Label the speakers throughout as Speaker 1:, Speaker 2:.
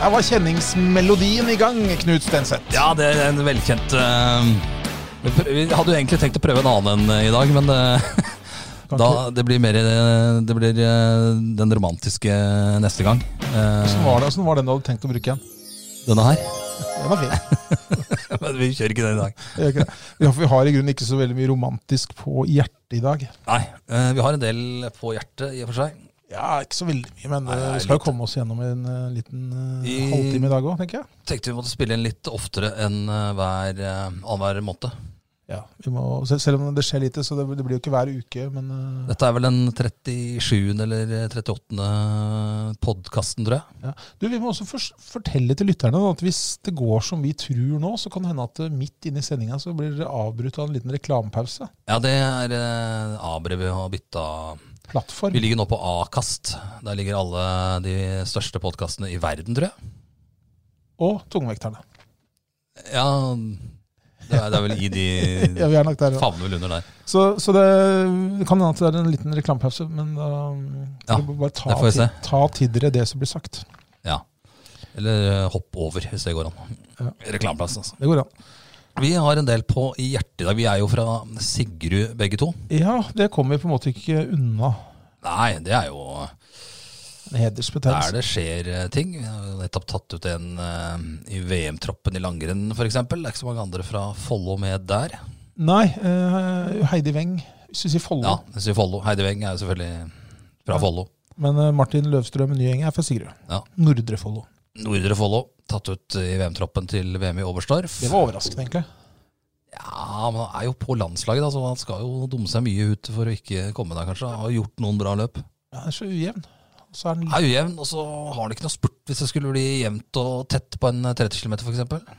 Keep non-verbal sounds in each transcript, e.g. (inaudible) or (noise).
Speaker 1: Der var kjenningsmelodien i gang, Knut Stenseth.
Speaker 2: Ja, det er en velkjent eh, vi prø- Vi hadde jo egentlig tenkt å prøve en annen enn i dag, men det, (laughs) da, det blir mer eh, Det blir eh, den romantiske neste gang. Eh,
Speaker 1: Hvordan var, det, hvordan var den du hadde tenkt å bruke igjen?
Speaker 2: denne her. (laughs)
Speaker 1: Den var fin.
Speaker 2: Men vi kjører ikke den i dag.
Speaker 1: Jeg gjør ikke (laughs) det. Ja, for Vi har i grunnen ikke så veldig mye romantisk på hjertet i dag.
Speaker 2: Nei, eh, vi har en del på hjertet, i og for seg.
Speaker 1: Ja, Ikke så veldig mye, men eh,
Speaker 2: Nei, det er
Speaker 1: vi skal jo
Speaker 2: litt.
Speaker 1: komme oss gjennom en eh, liten eh,
Speaker 2: I-
Speaker 1: halvtime i dag òg, tenker jeg.
Speaker 2: Tenkte vi måtte spille inn litt oftere enn eh, hver eh, annenhver måned.
Speaker 1: Ja, vi må, sel- Selv om det skjer lite, så det, det blir jo ikke hver uke, men eh,
Speaker 2: Dette er vel den 37. eller 38. podkasten, tror jeg.
Speaker 1: ja. Du, Vi må også først fortelle til lytterne da, at hvis det går som vi tror nå, så kan det hende at eh, midt inne i sendinga så blir det avbrutt av en liten reklamepause.
Speaker 2: Ja, det er eh, Abre vi har bytta
Speaker 1: Plattform.
Speaker 2: Vi ligger nå på Akast. Der ligger alle de største podkastene i verden, tror jeg.
Speaker 1: Og tungvekterne.
Speaker 2: Ja, det er, det er vel i de
Speaker 1: (laughs) Ja, vi er nok der. ja.
Speaker 2: Favner vel under der.
Speaker 1: Så, så det, det kan hende at det er en liten reklamepause, men da
Speaker 2: Ja,
Speaker 1: dere må bare ta,
Speaker 2: det får vi se.
Speaker 1: tid- ta til dere det som blir sagt.
Speaker 2: Ja. Eller eh, hopp over, hvis det går an.
Speaker 1: Ja.
Speaker 2: Reklameplass, altså.
Speaker 1: Det går an.
Speaker 2: Vi har en del på i hjertet i dag. Vi er jo fra Sigrud, begge to.
Speaker 1: Ja, det kommer vi på en måte ikke unna.
Speaker 2: Nei, det er jo
Speaker 1: En
Speaker 2: der
Speaker 1: hedersbetennelse.
Speaker 2: det skjer eh, ting. Vi har jo nettopp tatt ut en eh, i VM-troppen i langrenn, f.eks. Det er ikke så mange andre fra Follo med der.
Speaker 1: Nei, eh, Heidi Weng, hvis vi sier Follo.
Speaker 2: Ja, det sier Follo. Heidi Weng er jo selvfølgelig fra Follo.
Speaker 1: Men eh, Martin Løvstrøm Nyeng er fra Sigrud.
Speaker 2: Ja.
Speaker 1: Nordre Follo.
Speaker 2: Nordre Follo tatt ut i VM-troppen til VM i Oberstdorf.
Speaker 1: Det var overraskende, egentlig.
Speaker 2: Ja, men han er jo på landslaget, da, så han skal jo dumme seg mye ut for å ikke komme der, kanskje. Han har gjort noen bra løp.
Speaker 1: Ja, den er så ujevn. Og så er den
Speaker 2: Han Er ujevn, og så har han ikke noe spurt hvis det skulle bli jevnt og tett på en 30 km, f.eks.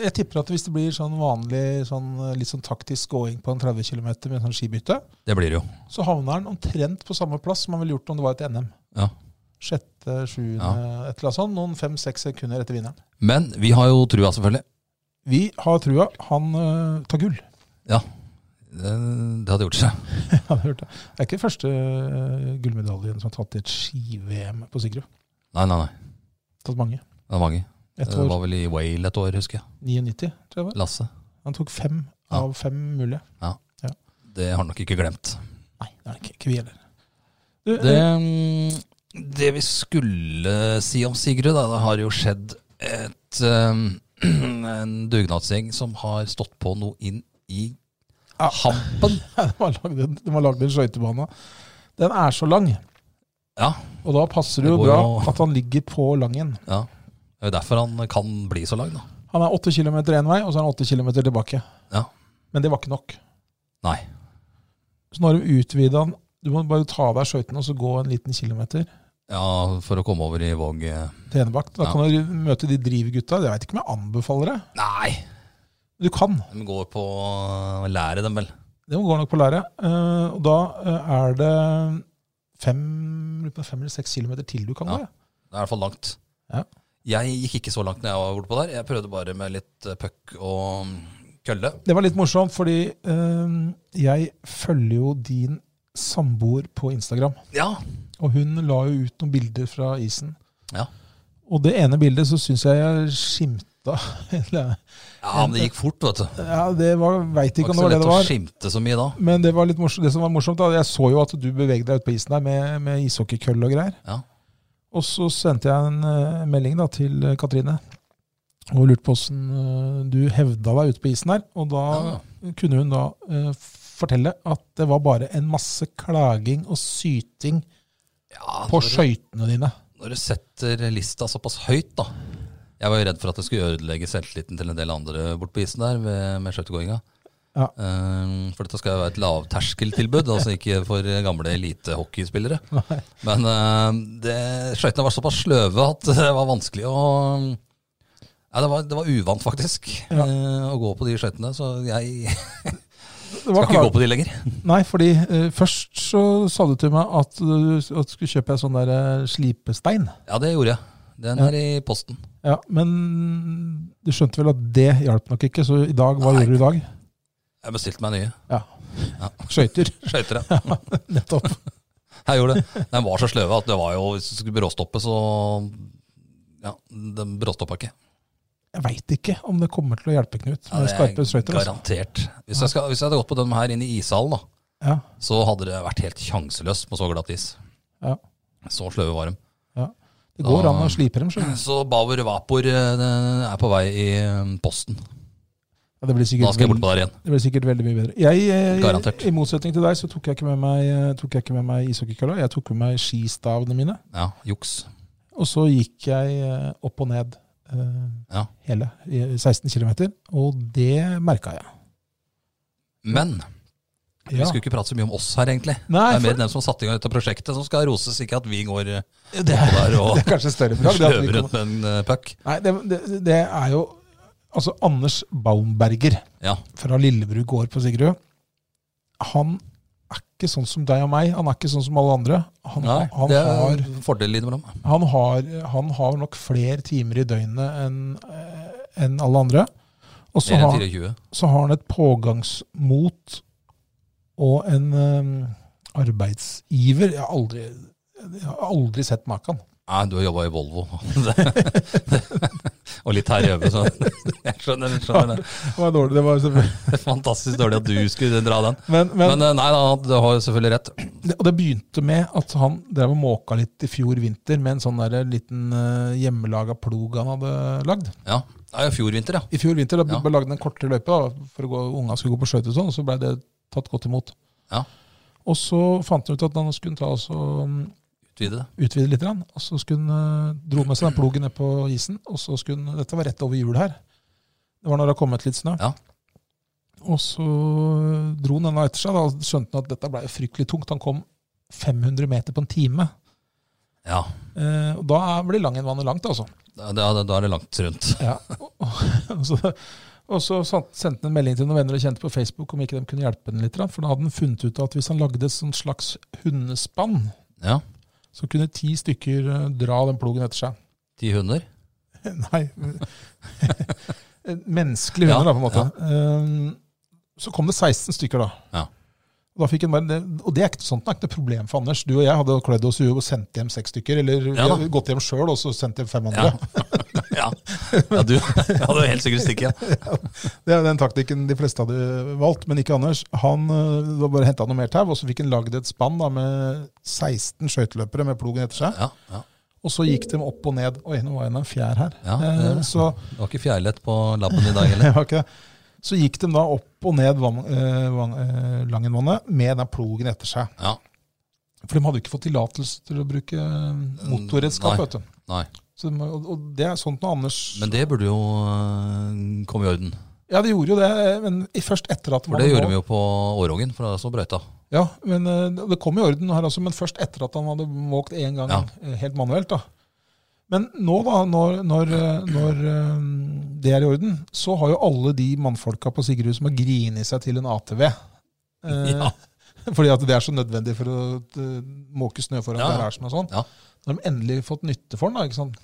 Speaker 1: Jeg tipper at hvis det blir sånn vanlig, sånn, eh, litt sånn taktisk gåing på en 30 km med sånn skibytte,
Speaker 2: Det blir det jo.
Speaker 1: så havner den omtrent på samme plass som han ville gjort om det var et NM.
Speaker 2: Ja.
Speaker 1: sjette, sjuende, et eller annet sånt. Noen fem-seks sekunder etter vinneren.
Speaker 2: Men vi har jo trua, selvfølgelig.
Speaker 1: Vi har trua. Han øh, tar gull. (laughs)
Speaker 2: Ja. Det, det hadde gjort seg.
Speaker 1: Jeg har hørt det. det er ikke første øh, gullmedaljen som er tatt i et ski-VM på Sigrud.
Speaker 2: Nei, nei, nei.
Speaker 1: Tatt mange.
Speaker 2: Det var mange.
Speaker 1: Ett
Speaker 2: Det
Speaker 1: år.
Speaker 2: var vel i Wale et år, husker jeg.
Speaker 1: 99, tror jeg det var.
Speaker 2: Lasse.
Speaker 1: Han tok fem
Speaker 2: Ja.
Speaker 1: av fem mulige.
Speaker 2: Det har han nok ikke glemt.
Speaker 1: Nei, det er ikke, ikke vi heller. Du, øh,
Speaker 2: Det, mm, det vi skulle si om Sigrud, da, det har jo skjedd et, um, (clears throat) en dugnadsgjeng som har stått på noe inn i
Speaker 1: Ja.
Speaker 2: hampen.
Speaker 1: (laughs) de har lagd en- de har lagd en skøytebane. Den er så lang,
Speaker 2: Ja,
Speaker 1: og da passer det
Speaker 2: Det
Speaker 1: jo
Speaker 2: går
Speaker 1: bra
Speaker 2: jo-
Speaker 1: at han ligger på langen.
Speaker 2: ja. Det er jo derfor han kan bli så lang, da.
Speaker 1: Han er åtte kilometer én vei, og så er han åtte kilometer tilbake.
Speaker 2: Ja.
Speaker 1: Men det var ikke nok.
Speaker 2: Nei.
Speaker 1: Så nå har de utvida den. Du må bare ta av deg skøytene og så gå en liten kilometer
Speaker 2: Ja, for å komme over i Våg eh,
Speaker 1: til Enebakk. Da kan du møte de drivgutta. Jeg veit ikke om jeg anbefaler det.
Speaker 2: Nei!
Speaker 1: Du kan.
Speaker 2: De går på å lære dem, vel.
Speaker 1: Det går nok på læret. Eh, og da eh, er det fem, lurer på om det er fem eller seks kilometer til du kan
Speaker 2: Ja.
Speaker 1: gå. ja.
Speaker 2: Det er i hvert fall langt.
Speaker 1: Ja.
Speaker 2: Jeg gikk ikke så langt når jeg var borte på der. Jeg prøvde bare med litt eh, puck og mm, kølle.
Speaker 1: Det var litt morsomt, fordi eh, jeg følger jo din samboer på Instagram.
Speaker 2: Ja.
Speaker 1: Og hun la jo ut noen bilder fra isen.
Speaker 2: Ja.
Speaker 1: Og det ene bildet så syns jeg jeg skimta (laughs) eller,
Speaker 2: ja, men det gikk fort, vet du.
Speaker 1: Ja, det var Veit
Speaker 2: Det
Speaker 1: ikke
Speaker 2: var
Speaker 1: om det var
Speaker 2: ikke så
Speaker 1: det
Speaker 2: lett
Speaker 1: det
Speaker 2: å
Speaker 1: var.
Speaker 2: skimte så mye da.
Speaker 1: Men det, var litt morsomt, det som var morsomt, da, jeg så jo at du bevegde deg ute på isen der med, med ishockeykøll og greier.
Speaker 2: Ja.
Speaker 1: Og så sendte jeg en eh, melding da, til eh, Katrine og lurte på åssen du hevda deg ute på isen der. Og da
Speaker 2: Ja.
Speaker 1: kunne hun da eh, fortelle at det var bare en masse klaging og syting
Speaker 2: Ja,
Speaker 1: på
Speaker 2: når,
Speaker 1: skøytene dine.
Speaker 2: du- når du setter lista såpass høyt, da. Jeg var jo redd for at det skulle ødelegge selvtilliten til en del andre bort på isen der med, med skøytegåinga.
Speaker 1: Ja.
Speaker 2: Ehm, for dette skal jo være et lavterskeltilbud, altså ikke for gamle
Speaker 1: (laughs)
Speaker 2: elitehockeyspillere. (laughs) Men ehm, det- skøytene var såpass sløve at det var vanskelig å Ja, det, var, det var uvant, faktisk,
Speaker 1: Ja.
Speaker 2: eh, å gå på de skøytene. Så jeg
Speaker 1: Det
Speaker 2: skal
Speaker 1: var
Speaker 2: ikke
Speaker 1: klart.
Speaker 2: gå på de lenger.
Speaker 1: Nei, fordi eh, først så sa du til meg at du at du skulle kjøpe en sånn der eh, slipestein.
Speaker 2: Ja, det gjorde jeg. Den
Speaker 1: Ja.
Speaker 2: er i posten.
Speaker 1: Ja, Men du skjønte vel at det hjalp nok ikke, så i dag, hva gjorde
Speaker 2: Nei.
Speaker 1: du i dag? (laughs)
Speaker 2: Jeg bestilte meg nye
Speaker 1: Skøyter. (laughs)
Speaker 2: skøyter. jeg.
Speaker 1: Nettopp.
Speaker 2: Jeg gjorde det. De var så sløve at det var jo Hvis du skulle bråstoppe, så Ja, den bråstoppa ikke.
Speaker 1: Jeg veit ikke om det kommer til å hjelpe, Knut,
Speaker 2: Ja,
Speaker 1: med skarpe
Speaker 2: det er
Speaker 1: skøyter. altså.
Speaker 2: garantert. Hvis jeg, skal, hvis jeg hadde gått på dem her inne i ishallen, da,
Speaker 1: Ja.
Speaker 2: så hadde det vært helt sjanseløst på så glatt is.
Speaker 1: Ja.
Speaker 2: Så sløve var de.
Speaker 1: Det går
Speaker 2: Da-
Speaker 1: an å slipe dem. skjønner du.
Speaker 2: Så Bauer Vapor eh, den er på vei i eh, posten.
Speaker 1: Ja, det blir
Speaker 2: Da
Speaker 1: sikkert
Speaker 2: skal jeg bort
Speaker 1: veldig-
Speaker 2: på der igjen.
Speaker 1: Det ble sikkert veldig mye bedre. Jeg, eh,
Speaker 2: Garantert.
Speaker 1: I motsetning til deg så tok jeg ikke med meg, eh, tok jeg ikke med meg ishockeykølla. Jeg tok med meg skistavene mine.
Speaker 2: Ja, juks.
Speaker 1: Og så gikk jeg eh, opp og ned eh,
Speaker 2: Ja.
Speaker 1: hele eh, 16 km. Og det merka jeg.
Speaker 2: Men vi
Speaker 1: Ja.
Speaker 2: skulle ikke prate så mye om oss her, egentlig. Det
Speaker 1: Nei,
Speaker 2: er
Speaker 1: for,
Speaker 2: mer den som har satt i gang dette prosjektet, som skal roses. Ikke at vi går
Speaker 1: det,
Speaker 2: eh, på
Speaker 1: (laughs) det
Speaker 2: der og
Speaker 1: er kanskje større bragd. det at vi
Speaker 2: sløver
Speaker 1: kom-
Speaker 2: rundt med en eh, puck.
Speaker 1: Nei, det, det, det er jo Altså, Anders Baumberger
Speaker 2: Ja.
Speaker 1: fra Lillebru gård på Sigrud, han er ikke sånn som deg og meg. Han er ikke sånn som alle andre. Han,
Speaker 2: Nei,
Speaker 1: han
Speaker 2: det er
Speaker 1: har
Speaker 2: en fordel innimellom.
Speaker 1: Han har, han har nok flere timer i døgnet enn eh, enn alle andre. Og så
Speaker 2: Mer enn
Speaker 1: har,
Speaker 2: 24.
Speaker 1: så har han et pågangsmot og en eh, arbeidsiver. Jeg har aldri, jeg har aldri sett maken.
Speaker 2: Nei, du har jobba i Volvo. (laughs) og litt her hjemme, så (laughs) jeg skjønner, jeg skjønner det.
Speaker 1: Det var dårlig, det var selvfølgelig.
Speaker 2: det. er Fantastisk dårlig at du skulle dra den.
Speaker 1: Men, men,
Speaker 2: Men eh, nei da, du har jo selvfølgelig rett.
Speaker 1: det- og det begynte med at han drev og måka litt i fjor vinter med en sånn der liten eh, hjemmelaga plog han hadde lagd.
Speaker 2: Ja, det er jo fjor vinter, ja.
Speaker 1: I fjor vinter da
Speaker 2: Ja.
Speaker 1: ble lagd en kortere løype da, for å gå, unga skulle gå på skøyter og sånn, og så ble det tatt godt imot.
Speaker 2: Ja.
Speaker 1: Og så fant han ut at han skulle ta og så, mm,
Speaker 2: Utvide det.
Speaker 1: utvide litt, grann, og så skulle han eh, dro med seg den plogen ned på isen, og så skulle han, dette var rett over jul her, det var når det hadde kommet litt snø.
Speaker 2: Ja.
Speaker 1: Og så dro han denne etter seg, da og skjønte han at dette ble jo fryktelig tungt. Han kom 500 meter på en time.
Speaker 2: Ja,
Speaker 1: Eh, og da er- blir langen vannet langt, altså. (laughs)
Speaker 2: da, da, da er det langt rundt.
Speaker 1: Ja. Og, og, så, og så sant- sendte han en melding til noen venner og kjente på Facebook om ikke de kunne hjelpe han litt. da, For da hadde han funnet ut at hvis han lagde et sånt slags hundespann,
Speaker 2: Ja,
Speaker 1: så kunne ti stykker eh, dra den plogen etter seg.
Speaker 2: Ti hunder.
Speaker 1: (laughs) Nei Menneskelige hunder,
Speaker 2: Ja,
Speaker 1: da, på en måte. Eh, Så kom det 16 stykker, da.
Speaker 2: Ja.
Speaker 1: Og, da fikk han bare, det- og det er ikke sånt det er ikke noe problem for Anders. Du og jeg hadde klødd oss i huet og sendt hjem seks stykker. Eller vi
Speaker 2: Ja, da.
Speaker 1: hadde gått hjem sjøl og så sendt hjem fem
Speaker 2: Ja. (laughs)
Speaker 1: andre.
Speaker 2: ja. ja, du ja, du er helt sikkert stikket. Ja.
Speaker 1: Det er den taktikken de fleste hadde valgt, men ikke Anders. Han eh, det var bare henta noe mer tau, og så fikk han lagd et spann da, med 16 skøyteløpere med plogen etter seg.
Speaker 2: Ja, ja.
Speaker 1: Og så gikk de opp og ned. Og nå var det en fjær her.
Speaker 2: Ja,
Speaker 1: Eh,
Speaker 2: det-
Speaker 1: Så,
Speaker 2: Det var ikke fjærlett på labben i
Speaker 1: (laughs)
Speaker 2: dag heller.
Speaker 1: det var ikke det. så gikk de da opp og ned vann, eh, vann, eh, Langenvannet med den plogen etter seg.
Speaker 2: Ja,
Speaker 1: For de hadde jo ikke fått tillatelse til å bruke eh, motorredskap.
Speaker 2: Mm, Nei.
Speaker 1: vet du.
Speaker 2: nei.
Speaker 1: Så de, og, og det er sånt når Anders
Speaker 2: Men det burde jo øh, komme i orden.
Speaker 1: Ja, de gjorde jo det, men i- først etter at
Speaker 2: For det gjorde vi jo på Årungen, for det er så brøyta.
Speaker 1: Ja, men eh, det kom i orden her også, men først etter at han hadde måkt én gang
Speaker 2: Ja.
Speaker 1: eh, helt manuelt. da. Men nå, da, når, når, eh, når eh, det er i orden, så har jo alle de mannfolka på Sigrud som har grinet seg til en ATV. eh,
Speaker 2: (laughs) Ja.
Speaker 1: Fordi at det er så nødvendig for å eh, måke snø foran
Speaker 2: Ja.
Speaker 1: garasjen og sånn.
Speaker 2: Ja.
Speaker 1: Nå har de endelig fått nytte for den. da, ikke sant?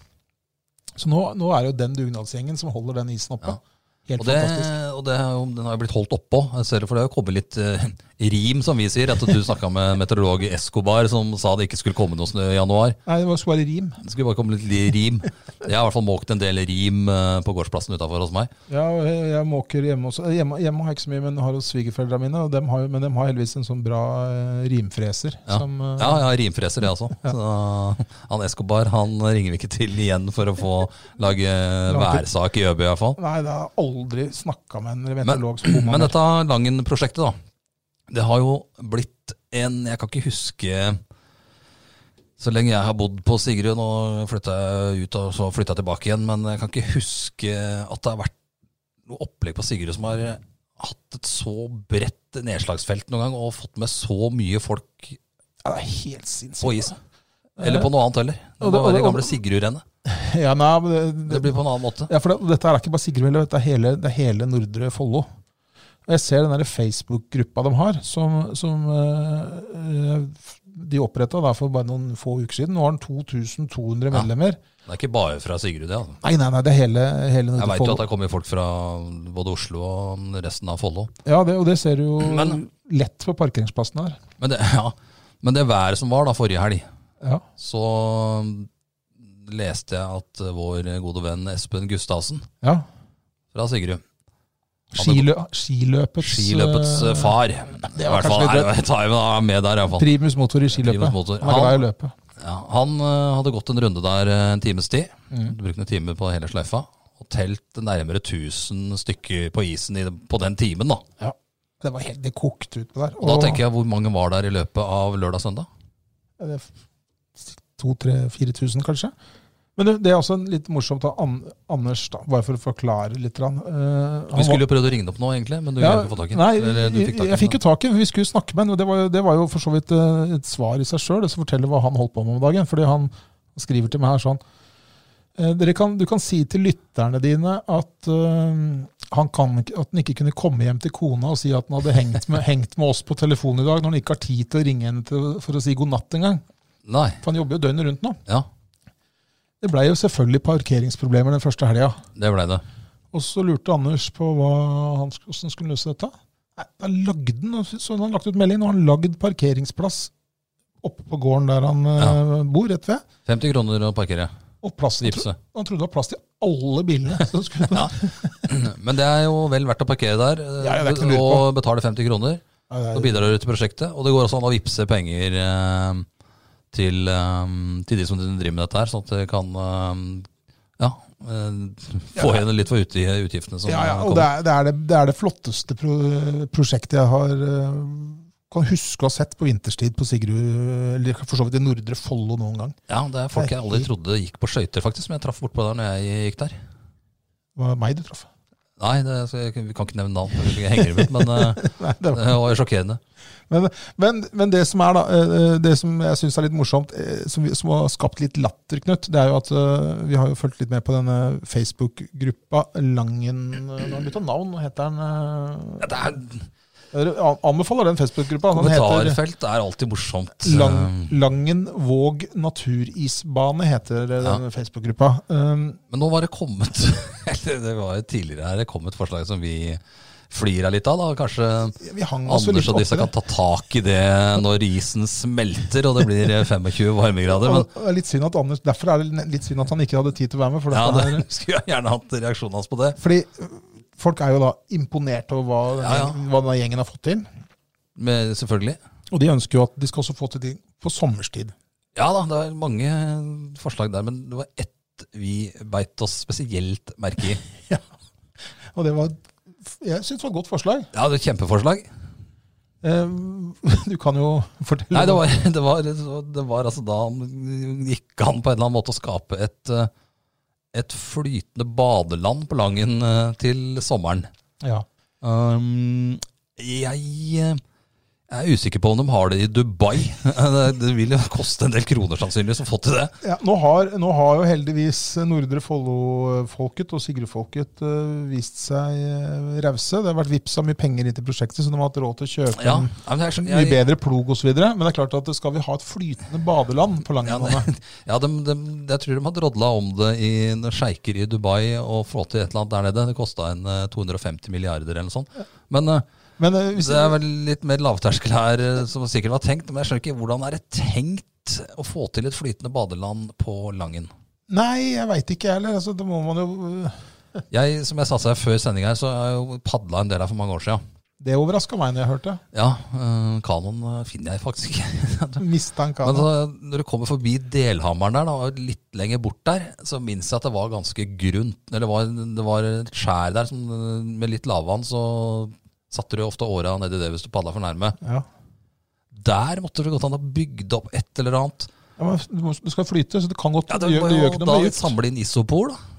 Speaker 1: Så nå, nå er det jo den dugnadsgjengen som holder den isen oppe.
Speaker 2: Ja.
Speaker 1: Helt
Speaker 2: Og det,
Speaker 1: fantastisk.
Speaker 2: og det er jo, den har jo blitt holdt oppå. Jeg ser det, for det har jo kommet litt eh, rim, som vi sier. Etter at du snakka med (laughs) meteorolog Escobar, som sa det ikke skulle komme noe snø i januar.
Speaker 1: Nei, det var- skulle være rim.
Speaker 2: Det skulle bare komme litt li- rim. Jeg har i hvert fall måkt en del rim eh, på gårdsplassen utafor hos meg.
Speaker 1: Ja, og jeg, jeg måker hjemme også. Eh, Hjemme, hjemme har jeg ikke så mye, men har hos svigerforeldrene mine. Og dem har, jo- men de har heldigvis en sånn bra eh, rimfreser.
Speaker 2: Ja.
Speaker 1: Som, eh,
Speaker 2: Ja, jeg har rimfreser, jeg også. Så, han Escobar han ringer vi ikke til igjen for å få lage værsak i Øby, i hvert fall.
Speaker 1: Nei, det har jeg aldri snakka med en
Speaker 2: Men,
Speaker 1: meteorolog som bomma
Speaker 2: men
Speaker 1: mer.
Speaker 2: dette Langen-prosjektet, da. Det har jo blitt en Jeg kan ikke huske Så lenge jeg har bodd på Sigrun og flytta ut og så flytta tilbake igjen, men jeg kan ikke huske at det har vært noe opplegg på Sigrun som har hatt et så bredt nedslagsfelt noen gang og fått med så mye folk
Speaker 1: Ja, det er helt sinnssykt.
Speaker 2: på isen. Eller på noe annet heller. Det
Speaker 1: Og det-
Speaker 2: må være
Speaker 1: og-
Speaker 2: det gamle Sigrud-rennet.
Speaker 1: Eh, Ja, nei, men det,
Speaker 2: Det blir på en annen måte.
Speaker 1: Ja, for det, dette her er ikke bare Sigrud heller, dette er hele, det er hele Nordre Follo. Og jeg ser den der Facebook-gruppa de har, som, som eh, eh, de oppretta for bare noen få uker siden. Nå har den 2200 medlemmer.
Speaker 2: Det er ikke bare fra Sigrud, det. Altså.
Speaker 1: Nei, nei, nei, det er hele, hele
Speaker 2: Jeg
Speaker 1: Nordre
Speaker 2: veit jo at
Speaker 1: Follo.
Speaker 2: det kommer folk fra både Oslo og resten av Follo.
Speaker 1: Ja, det, og det ser du jo
Speaker 2: (clears throat) Men-
Speaker 1: lett på parkeringsplassen her.
Speaker 2: Men det, (laughs) ja. Men det været som var da forrige helg,
Speaker 1: Ja.
Speaker 2: så leste jeg at vår gode venn Espen Gustavsen
Speaker 1: ja.
Speaker 2: fra Sigrud
Speaker 1: Skilø, skiløpets,
Speaker 2: Skiløpets eh,
Speaker 1: eh,
Speaker 2: far. I hvert fall
Speaker 1: kanskje litt
Speaker 2: er, jeg tar jo han med der, iallfall.
Speaker 1: Primus motor i skiløpet.
Speaker 2: Primus motor.
Speaker 1: Han er glad i å løpe.
Speaker 2: Ja, han eh, hadde gått en runde der eh, en times tid.
Speaker 1: Mm.
Speaker 2: Brukte en time på hele sløyfa. Og telt nærmere 1000 stykker på isen i, på den timen, da.
Speaker 1: Det, var helt, det kokte ut på der.
Speaker 2: Og da tenker jeg hvor mange var der i løpet av lørdag-søndag?
Speaker 1: Er det 2000-4000, kanskje. Men det, det er også en litt morsomt av An Anders, da, bare for å forklare litt. grann. Eh, han
Speaker 2: Vi skulle jo prøvd å ringe opp nå, egentlig, men du
Speaker 1: Ja,
Speaker 2: greide ikke å få tak i den.
Speaker 1: Nei,
Speaker 2: Eller du
Speaker 1: jeg,
Speaker 2: tak i
Speaker 1: jeg
Speaker 2: den,
Speaker 1: fikk jo tak i den. Vi skulle snakke med ham. Det, var jo- det var jo for så vidt eh, et svar i seg sjøl, som forteller hva han holdt på med om dagen. Fordi han skriver til meg her sånn eh, dere kan, Du kan si til lytterne dine at eh, han, kan, ikke- at han ikke kunne komme hjem til kona og si at han hadde hengt med, (laughs) hengt med oss på telefon i dag, når han ikke har tid til å ringe henne til, for å si god natt engang.
Speaker 2: da. Nei,
Speaker 1: For han jobber jo døgnet rundt nå.
Speaker 2: ja,
Speaker 1: Det blei jo selvfølgelig parkeringsproblemer den første helga.
Speaker 2: det blei det.
Speaker 1: Og så lurte Anders på hva han, sk- hvordan han skulle løse dette. Nei, da lagde han, så han lagt ut melding, og han lagd parkeringsplass oppe på gården der han eh, bor, rett ved.
Speaker 2: 50 kroner å parkere.
Speaker 1: Og plass, han, tro,
Speaker 2: Vipse.
Speaker 1: han trodde det var plass til alle bilene. (laughs) som skulle på.
Speaker 2: Men det er jo vel verdt å parkere der, eh,
Speaker 1: Ja, ja, det er ikke noe å lure
Speaker 2: og betale 50 kroner.
Speaker 1: Nei,
Speaker 2: Så
Speaker 1: nei,
Speaker 2: bidrar du til prosjektet. Og det går også an å vippse penger eh, til, eh, til de som driver med dette her, sånn at det kan eh, ja, eh, få igjen litt for uti- utgiftene som
Speaker 1: ja, ja, og det
Speaker 2: kommer.
Speaker 1: er det, er det, det er det flotteste pro prosjektet jeg har eh, kan huske å ha sett på vinterstid på Sigrud, eller for så vidt i Nordre Follo noen gang.
Speaker 2: ja, det er folk jeg aldri trodde gikk på skøyter, faktisk, som jeg traff bortpå der når jeg gikk der.
Speaker 1: Det var meg du traff. (laughs)
Speaker 2: Nei, det, så jeg, vi kan ikke nevne navn, for jeg henger dem ut, men eh,
Speaker 1: Nei, det var
Speaker 2: det var sjokkerende.
Speaker 1: Men, men, men det som er da, eh, det som jeg syns er litt morsomt, eh, som, vi- som har skapt litt latter, Knut, det er jo at eh, vi har jo fulgt litt med på denne Facebook-gruppa Langen eh, Nå har han bytta navn, nå heter den
Speaker 2: Ja, det er,
Speaker 1: Jeg anbefaler den Facebook-gruppa. Den heter
Speaker 2: kommentarfelt er alltid morsomt.
Speaker 1: Lang,
Speaker 2: Eh,
Speaker 1: Langen Våg naturisbane, heter eh,
Speaker 2: Ja.
Speaker 1: den Facebook-gruppa. Um,
Speaker 2: Men nå var det kommet (laughs) eller Det var jo tidligere her, det kom et forslag som vi flirer litt av. da, Kanskje
Speaker 1: vi hang oss vel
Speaker 2: Anders
Speaker 1: litt
Speaker 2: og
Speaker 1: opp
Speaker 2: disse
Speaker 1: i
Speaker 2: kan
Speaker 1: det.
Speaker 2: ta tak i det når isen smelter og det blir
Speaker 1: (laughs)
Speaker 2: 25 varmegrader. Men
Speaker 1: Og det er litt synd at Anders, derfor er det litt synd at han ikke hadde tid til å være med. For
Speaker 2: ja,
Speaker 1: dette er,
Speaker 2: det, (laughs) skulle jeg gjerne hatt reaksjonen hans på det.
Speaker 1: Fordi øh, folk er jo da imponert over hva, den
Speaker 2: Ja, ja.
Speaker 1: gjengen- hva denne gjengen har fått til.
Speaker 2: Men selvfølgelig.
Speaker 1: Og de ønsker jo at de skal også få til ting på sommerstid.
Speaker 2: Ja da, det er mange forslag der, men det var ett vi beit oss spesielt merke i.
Speaker 1: Og det var jeg syns det var et godt forslag.
Speaker 2: Ja, det var et Kjempeforslag.
Speaker 1: Eh, (laughs) Du kan jo fortelle.
Speaker 2: Nei, det var, (laughs) det var, det var altså da han gikk an på en eller annen måte å skape et, eh, et flytende badeland på Langen eh, til sommeren.
Speaker 1: Ja.
Speaker 2: Um, jeg, eh, er usikker på om de har det i Dubai. (laughs) det, det vil jo koste en del kroner sannsynligvis å få til det.
Speaker 1: Ja, nå, har, nå har jo heldigvis Nordre Follo-folket og Sigrud-folket eh, vist seg eh, rause. Det har vært vippsa mye penger inn til prosjektet, så de har hatt råd til å kjøpe
Speaker 2: Ja,
Speaker 1: en
Speaker 2: ja, men jeg skjønner-
Speaker 1: mye
Speaker 2: jeg-
Speaker 1: bedre plog osv. Men det er klart at skal vi ha et flytende badeland på
Speaker 2: Ja,
Speaker 1: Langenhånda
Speaker 2: det- (laughs) ja de, de, jeg tror de hadde drodla om det i noen sjeiker i Dubai og få til et eller annet der nede. Det kosta en eh, 250 milliarder eller noe sånt. Men eh,
Speaker 1: Men eh, hvis
Speaker 2: det er vel litt mer lavterskel her, eh, som sikkert var tenkt. Men jeg skjønner ikke hvordan er det tenkt å få til et flytende badeland på Langen?
Speaker 1: Nei, jeg veit ikke jeg heller. Altså, det må man jo
Speaker 2: Jeg, som jeg satsa før sending her, så har jeg jo padla en del her for mange år sia.
Speaker 1: Det overraska meg når jeg hørte.
Speaker 2: Ja, eh, kanon eh, finner jeg faktisk ikke. (laughs)
Speaker 1: Mista en
Speaker 2: Men
Speaker 1: kano.
Speaker 2: så, når du kommer forbi Delhammeren der, da, og litt lenger bort der, så minnes jeg at det var ganske grunt. Eller det var, det var et skjær der som, eh, med litt lavvann, så satte du ofte åra nedi det hvis du padla for nærme.
Speaker 1: Ja.
Speaker 2: Der måtte du godt an ha bygd opp et eller annet.
Speaker 1: Ja, men du, må, du skal flyte, så det kan godt
Speaker 2: Ja,
Speaker 1: det,
Speaker 2: det
Speaker 1: gjør,
Speaker 2: var
Speaker 1: det gjør
Speaker 2: jo
Speaker 1: ikke noe
Speaker 2: da
Speaker 1: om det er
Speaker 2: samle inn isopor, da.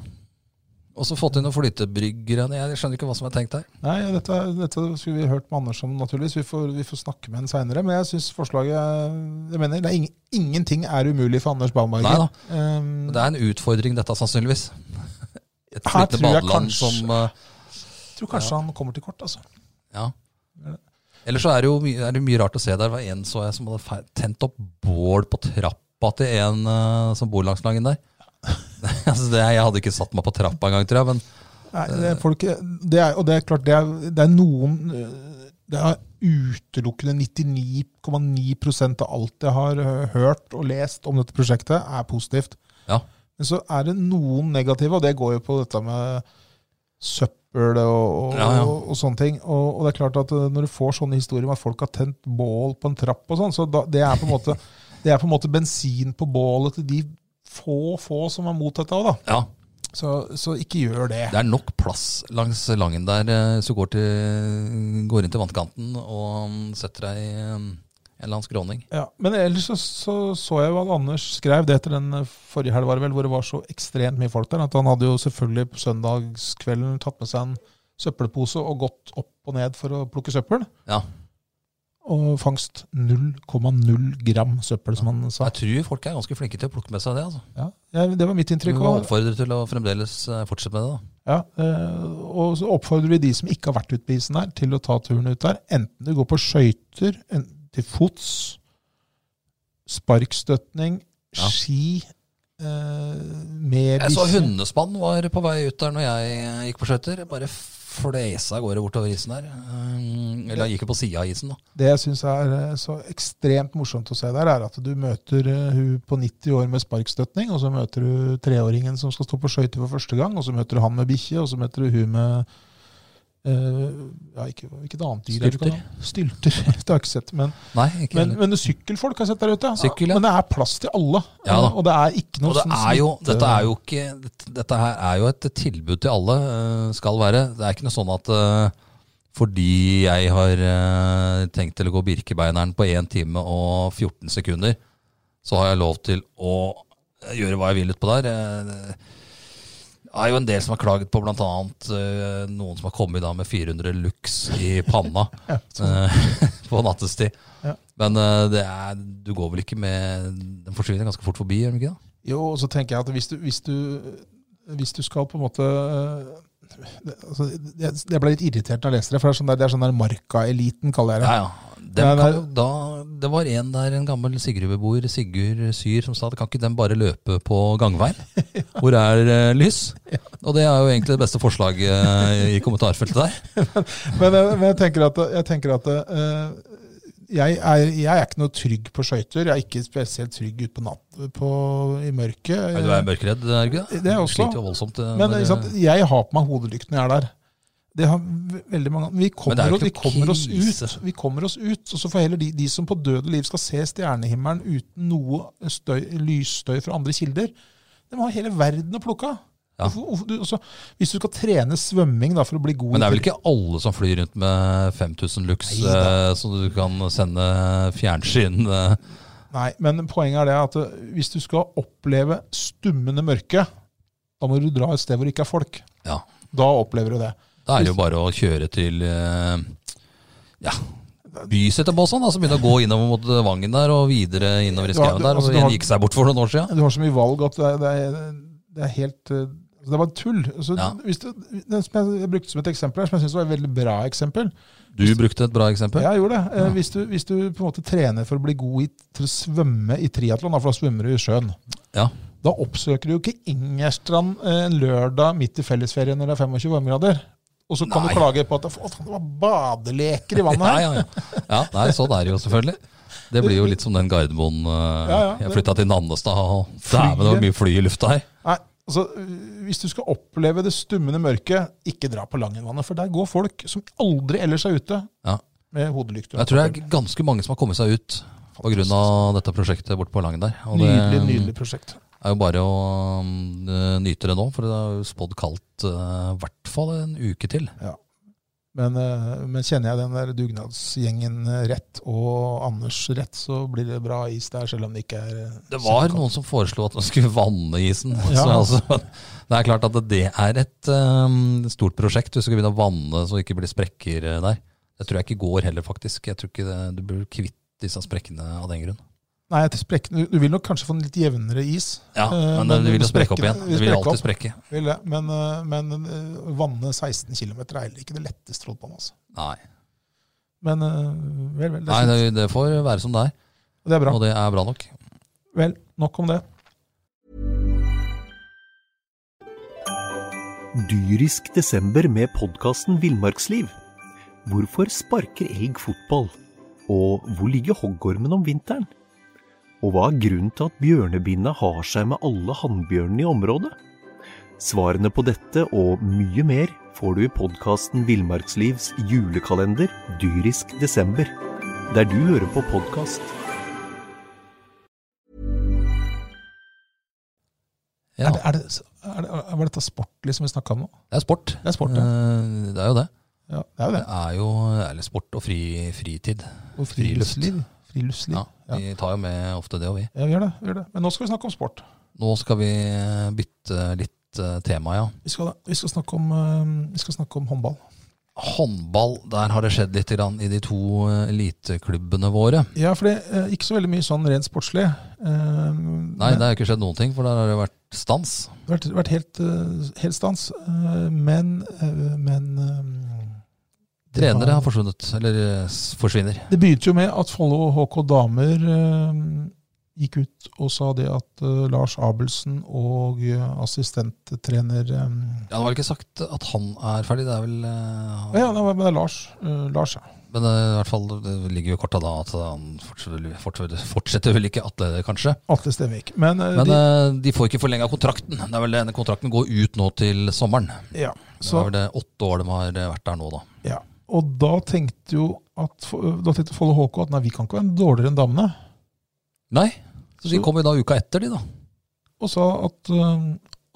Speaker 2: Og så fått inn noen flytebryggere. Jeg skjønner ikke hva som er tenkt her.
Speaker 1: Nei, dette, dette skulle vi hørt med Anders om, naturligvis. Vi får, vi får snakke med ham seinere. Men jeg syns forslaget Jeg mener, det er ing, ingenting er umulig for Anders Ehm, Baumberger.
Speaker 2: Neida. Det er en utfordring, dette, sannsynligvis. (laughs) Et
Speaker 1: Her
Speaker 2: lite
Speaker 1: tror jeg
Speaker 2: badeland
Speaker 1: kanskje-
Speaker 2: som eh,
Speaker 1: jeg tror kanskje han kommer til kort, altså.
Speaker 2: Ja. Ellers så er det jo mye, er det mye rart å se der. Det var en så jeg som hadde fe- tent opp bål på trappa til en eh, som bor langs Langen der. (laughs) altså det, jeg hadde ikke satt meg på trappa engang, tror jeg. Men
Speaker 1: Nei, det er folk, det er, og det er klart, det er, det er noen øh, Det er utelukkende 99,9 av alt jeg har øh, hørt og lest om dette prosjektet, er positivt.
Speaker 2: ja.
Speaker 1: Men så er det noen negative, og det går jo på dette med søppel og, og,
Speaker 2: Ja, ja.
Speaker 1: og, sånne ting. Og, og det er klart at eh, når du får sånne historier om at folk har tent bål på en trapp og sånn, så da, det, er på en måte, (laughs) det er på en måte bensin på bålet til de få, få som er mot dette òg, da.
Speaker 2: ja.
Speaker 1: Så, så ikke gjør det.
Speaker 2: Det er nok plass langs Langen der eh, hvis du går, til, går inn til vannkanten og mm, setter deg i eh, en eller annen skråning.
Speaker 1: Ja, men ellers så, så, så jeg jo at Anders skrev det etter den eh, forrige helg, var det vel, hvor det var så ekstremt mye folk der, at han hadde jo selvfølgelig på søndagskvelden tatt med seg en søppelpose og gått opp og ned for å plukke søppel.
Speaker 2: Ja.
Speaker 1: Og fangst 0,0 gram søppel, som han sa.
Speaker 2: Jeg tror folk er ganske flinke til å plukke med seg det. altså.
Speaker 1: Ja, ja, det var mitt
Speaker 2: Vi
Speaker 1: inntrykk
Speaker 2: må
Speaker 1: òg.
Speaker 2: oppfordre til å fremdeles eh, fortsette med det. da.
Speaker 1: Ja, eh, og så oppfordrer vi de som ikke har vært ute på isen her, til å ta turen ut der. Enten du går på skøyter, enten til fots, sparkstøtning,
Speaker 2: Ja.
Speaker 1: ski eh, med
Speaker 2: Jeg så
Speaker 1: bikkje.
Speaker 2: hundespann var på vei ut der når jeg eh, gikk på skøyter. Bare fleisa av gårde bortover isen der. Eh, Eller jeg gikk jo på sida av isen, da.
Speaker 1: Det jeg syns er eh, så ekstremt morsomt å se der, er at du møter eh, hun på 90 år med sparkstøtning, og så møter du treåringen som skal stå på skøyter for første gang, og så møter du han med bikkje, og så møter du hun med eh, ja, ikke, hvilket annet dyr er det du kan
Speaker 2: Stylter.
Speaker 1: ha? Stylter. (laughs) Det har jeg ikke sett. men
Speaker 2: Nei, ikke
Speaker 1: Men,
Speaker 2: heller.
Speaker 1: men sykkelfolk har jeg sett der ute.
Speaker 2: Sykkel, ja.
Speaker 1: Men det er plass til alle.
Speaker 2: Ja da.
Speaker 1: Og det er ikke noe
Speaker 2: Og det
Speaker 1: sånn
Speaker 2: er jo,
Speaker 1: smitte-
Speaker 2: dette er jo ikke dette- Dette her er jo et tilbud til alle, eh, skal være. Det er ikke noe sånn at eh, fordi jeg har eh, tenkt til å gå Birkebeineren på 1 time og 14 sekunder, så har jeg lov til å gjøre hva jeg vil utpå der. Eh, Det er jo en del som har klaget på bl.a. noen som har kommet da med 400 lux i panna
Speaker 1: (laughs) Ja, sånn.
Speaker 2: eh, (laughs) på nattestid.
Speaker 1: Ja.
Speaker 2: Men eh, det er, du går vel ikke med Den forsvinner ganske fort forbi, gjør den ikke det?
Speaker 1: Jo, og så tenker jeg at hvis du, hvis du, hvis du skal på en måte øh, det- altså, jeg, jeg ble litt irritert når jeg leser det, for det er sånn der, det er sånn der markaeliten, kaller jeg det.
Speaker 2: Ja, ja. Dem
Speaker 1: Ja, det er-
Speaker 2: kan jo da, det var en der, en gammel Sigrud-beboer, Sigurd Syr, som sa at kan ikke dem bare løpe på
Speaker 1: (laughs)
Speaker 2: gangveien, hvor er eh, lys? Og det er jo egentlig det beste forslaget eh, i kommentarfeltet der.
Speaker 1: Men, jeg, men jeg tenker at, jeg, tenker at øh, jeg, er, jeg er ikke noe trygg på skøyter. Jeg er ikke spesielt trygg ute på natt på, i mørket.
Speaker 2: Nei, Du er mørkredd, er du ikke det?
Speaker 1: Det er jeg
Speaker 2: Du
Speaker 1: også.
Speaker 2: Sliter jo voldsomt. eh,
Speaker 1: Men
Speaker 2: når-
Speaker 1: ikke sant? jeg har på meg hodelykt når jeg er der. Det har ve- veldig mange Vi
Speaker 2: Men det er
Speaker 1: kommer,
Speaker 2: jo
Speaker 1: oss- vi
Speaker 2: ikke noe
Speaker 1: kommer oss
Speaker 2: krise.
Speaker 1: ut. Vi kommer oss ut, og så får heller de, de som på døde liv skal se stjernehimmelen uten noe støy, lysstøy fra andre kilder, de har hele verden å plukke av.
Speaker 2: Ja.
Speaker 1: Hvorfor- hvorfor du- altså, hvis du skal trene svømming da, for å bli god
Speaker 2: Men det er vel
Speaker 1: i-
Speaker 2: ikke alle som flyr rundt med 5000 lux,
Speaker 1: Nei da.
Speaker 2: eh, så du kan sende fjernsyn eh.
Speaker 1: Nei, men poenget er det at eh, hvis du skal oppleve stummende mørke, da må du dra et sted hvor det ikke er folk.
Speaker 2: Ja.
Speaker 1: Da opplever du det.
Speaker 2: Da er det jo bare å kjøre til eh, ja, Byseterbåsen, altså begynne å gå innover mot Vangen der og videre innover i
Speaker 1: Du har-
Speaker 2: skauen
Speaker 1: du-
Speaker 2: der.
Speaker 1: altså,
Speaker 2: Og
Speaker 1: du har-
Speaker 2: en gikk seg bort for noen år siden.
Speaker 1: Du har så mye valg at det er, det er, det er helt eh, altså Det var tull. Altså,
Speaker 2: Ja.
Speaker 1: hvis du, den som jeg, jeg brukte som et eksempel her, som jeg syns var et veldig bra eksempel
Speaker 2: Du brukte et bra eksempel.
Speaker 1: Jeg gjorde det. Eh, Hvis, du, hvis du på en måte trener for å bli god i, til å svømme i triatlon, da, for da svømmer du i sjøen
Speaker 2: Ja.
Speaker 1: da oppsøker du jo ikke Ingerstrand eh, en lørdag midt i fellesferien når det er 25 varmegrader. Og så kan
Speaker 2: Nei.
Speaker 1: du klage på at «Å, faen, det var badeleker i vannet
Speaker 2: Ja,
Speaker 1: her.
Speaker 2: (laughs) ja, ja. ja nei, sånn er det jo selvfølgelig. Det blir jo litt som den Gardermoen eh,
Speaker 1: Ja, ja.
Speaker 2: Jeg flytta til Nannestad, og dæven, det var mye fly i lufta her.
Speaker 1: Nei, altså, øh, Hvis du skal oppleve det stummende mørket, ikke dra på Langenvannet. For der går folk som aldri ellers er ute,
Speaker 2: Ja.
Speaker 1: med hodelykt.
Speaker 2: Jeg tror det er ganske mange som har kommet seg ut pga. dette prosjektet borte på Langen der. Og det
Speaker 1: Nydelig, nydelig prosjekt.
Speaker 2: er jo bare å mm, nyte det nå, for det er jo spådd kaldt eh, i hvert fall en uke til.
Speaker 1: Ja. Men, eh, men kjenner jeg den der dugnadsgjengen eh, rett, og Anders rett, så blir det bra is der, selv om det ikke er eh,
Speaker 2: Det var
Speaker 1: kjempekaldt.
Speaker 2: noen som foreslo at man skulle vanne isen. Så,
Speaker 1: Ja.
Speaker 2: altså, det er klart at det er et eh, stort prosjekt. Du skal begynne å vanne så det ikke blir sprekker eh, der. Det tror jeg ikke går heller, faktisk. Jeg tror ikke det, Du blir kvitt disse sprekkene av den grunn.
Speaker 1: Nei, etter sprekken, du, du vil nok kanskje få en litt jevnere is.
Speaker 2: Ja,
Speaker 1: Eh,
Speaker 2: Men det, det vil jo sprekke opp
Speaker 1: sprekkene
Speaker 2: igjen. Det vil
Speaker 1: sprekke opp,
Speaker 2: alltid sprekke.
Speaker 1: vil det. Men, eh, men eh, vanne 16 km er heller ikke det letteste, holdt på med. Altså.
Speaker 2: Nei,
Speaker 1: Men eh, vel, vel. Det
Speaker 2: Nei
Speaker 1: er,
Speaker 2: det,
Speaker 1: fint.
Speaker 2: det får være som det er.
Speaker 1: Og det er bra.
Speaker 2: Og det er bra nok.
Speaker 1: Vel, nok om det.
Speaker 3: Dyrisk desember med podkasten Villmarksliv. Hvorfor sparker elg fotball? Og hvor ligger hoggormen om vinteren? Og hva er grunnen til at bjørnebinna har seg med alle hannbjørnene i området? Svarene på dette og mye mer får du i podkasten Villmarkslivs julekalender Dyrisk desember, der du hører på podkast.
Speaker 2: Ja,
Speaker 1: Er det, er det, er det, er, var dette sport liksom vi snakka om nå?
Speaker 2: det er sport.
Speaker 1: Det er sport, ja.
Speaker 2: Eh, Det er jo det.
Speaker 1: ja det er jo
Speaker 2: Det
Speaker 1: det.
Speaker 2: er jo eller sport og fri, fritid.
Speaker 1: Og friluftsliv. Friluftsliv.
Speaker 2: Ja, Vi tar jo med ofte det, og vi.
Speaker 1: Ja, vi gjør det, vi gjør det. Men nå skal vi snakke om sport.
Speaker 2: Nå skal vi bytte litt eh, tema, ja.
Speaker 1: Vi skal, vi skal, snakke, om, eh, vi skal snakke om håndball.
Speaker 2: Håndball, der har det skjedd litt grann i de to eh, eliteklubbene våre.
Speaker 1: Ja, for det er ikke så veldig mye sånn rent sportslig. Eh,
Speaker 2: Nei,
Speaker 1: men-
Speaker 2: det har ikke skjedd noen ting, for der har det vært stans.
Speaker 1: Det har vært, vært helt, eh, helt stans, eh, men, eh, men eh, det var-
Speaker 2: Trenere har forsvunnet, eller eh, s- forsvinner.
Speaker 1: Det begynte jo med at Follo HK Damer eh, gikk ut og sa det at eh, Lars Abelsen og eh, assistenttrener eh,
Speaker 2: Ja, Det var vel ikke sagt at han er ferdig, det er vel eh,
Speaker 1: Ja, det var, men det er Lars. eh, Lars, ja.
Speaker 2: Men eh, i hvert fall det ligger jo i korta da at han fortsetter, fortsetter, fortsetter vel ikke Atle, kanskje.
Speaker 1: Alt det stemmer ikke. Men, eh,
Speaker 2: Men eh, de får ikke forlenga kontrakten. Det er vel Denne kontrakten går ut nå til sommeren.
Speaker 1: de, ja,
Speaker 2: Så
Speaker 1: så,
Speaker 2: er det åtte år de har eh, vært der nå, da.
Speaker 1: ja. Og da tenkte jo at, eh, da tenkte Follo HK at nei, vi kan ikke være dårligere enn damene.
Speaker 2: Nei, så de
Speaker 1: Så-
Speaker 2: kommer jo da uka etter, de, da.
Speaker 1: Og sa at eh,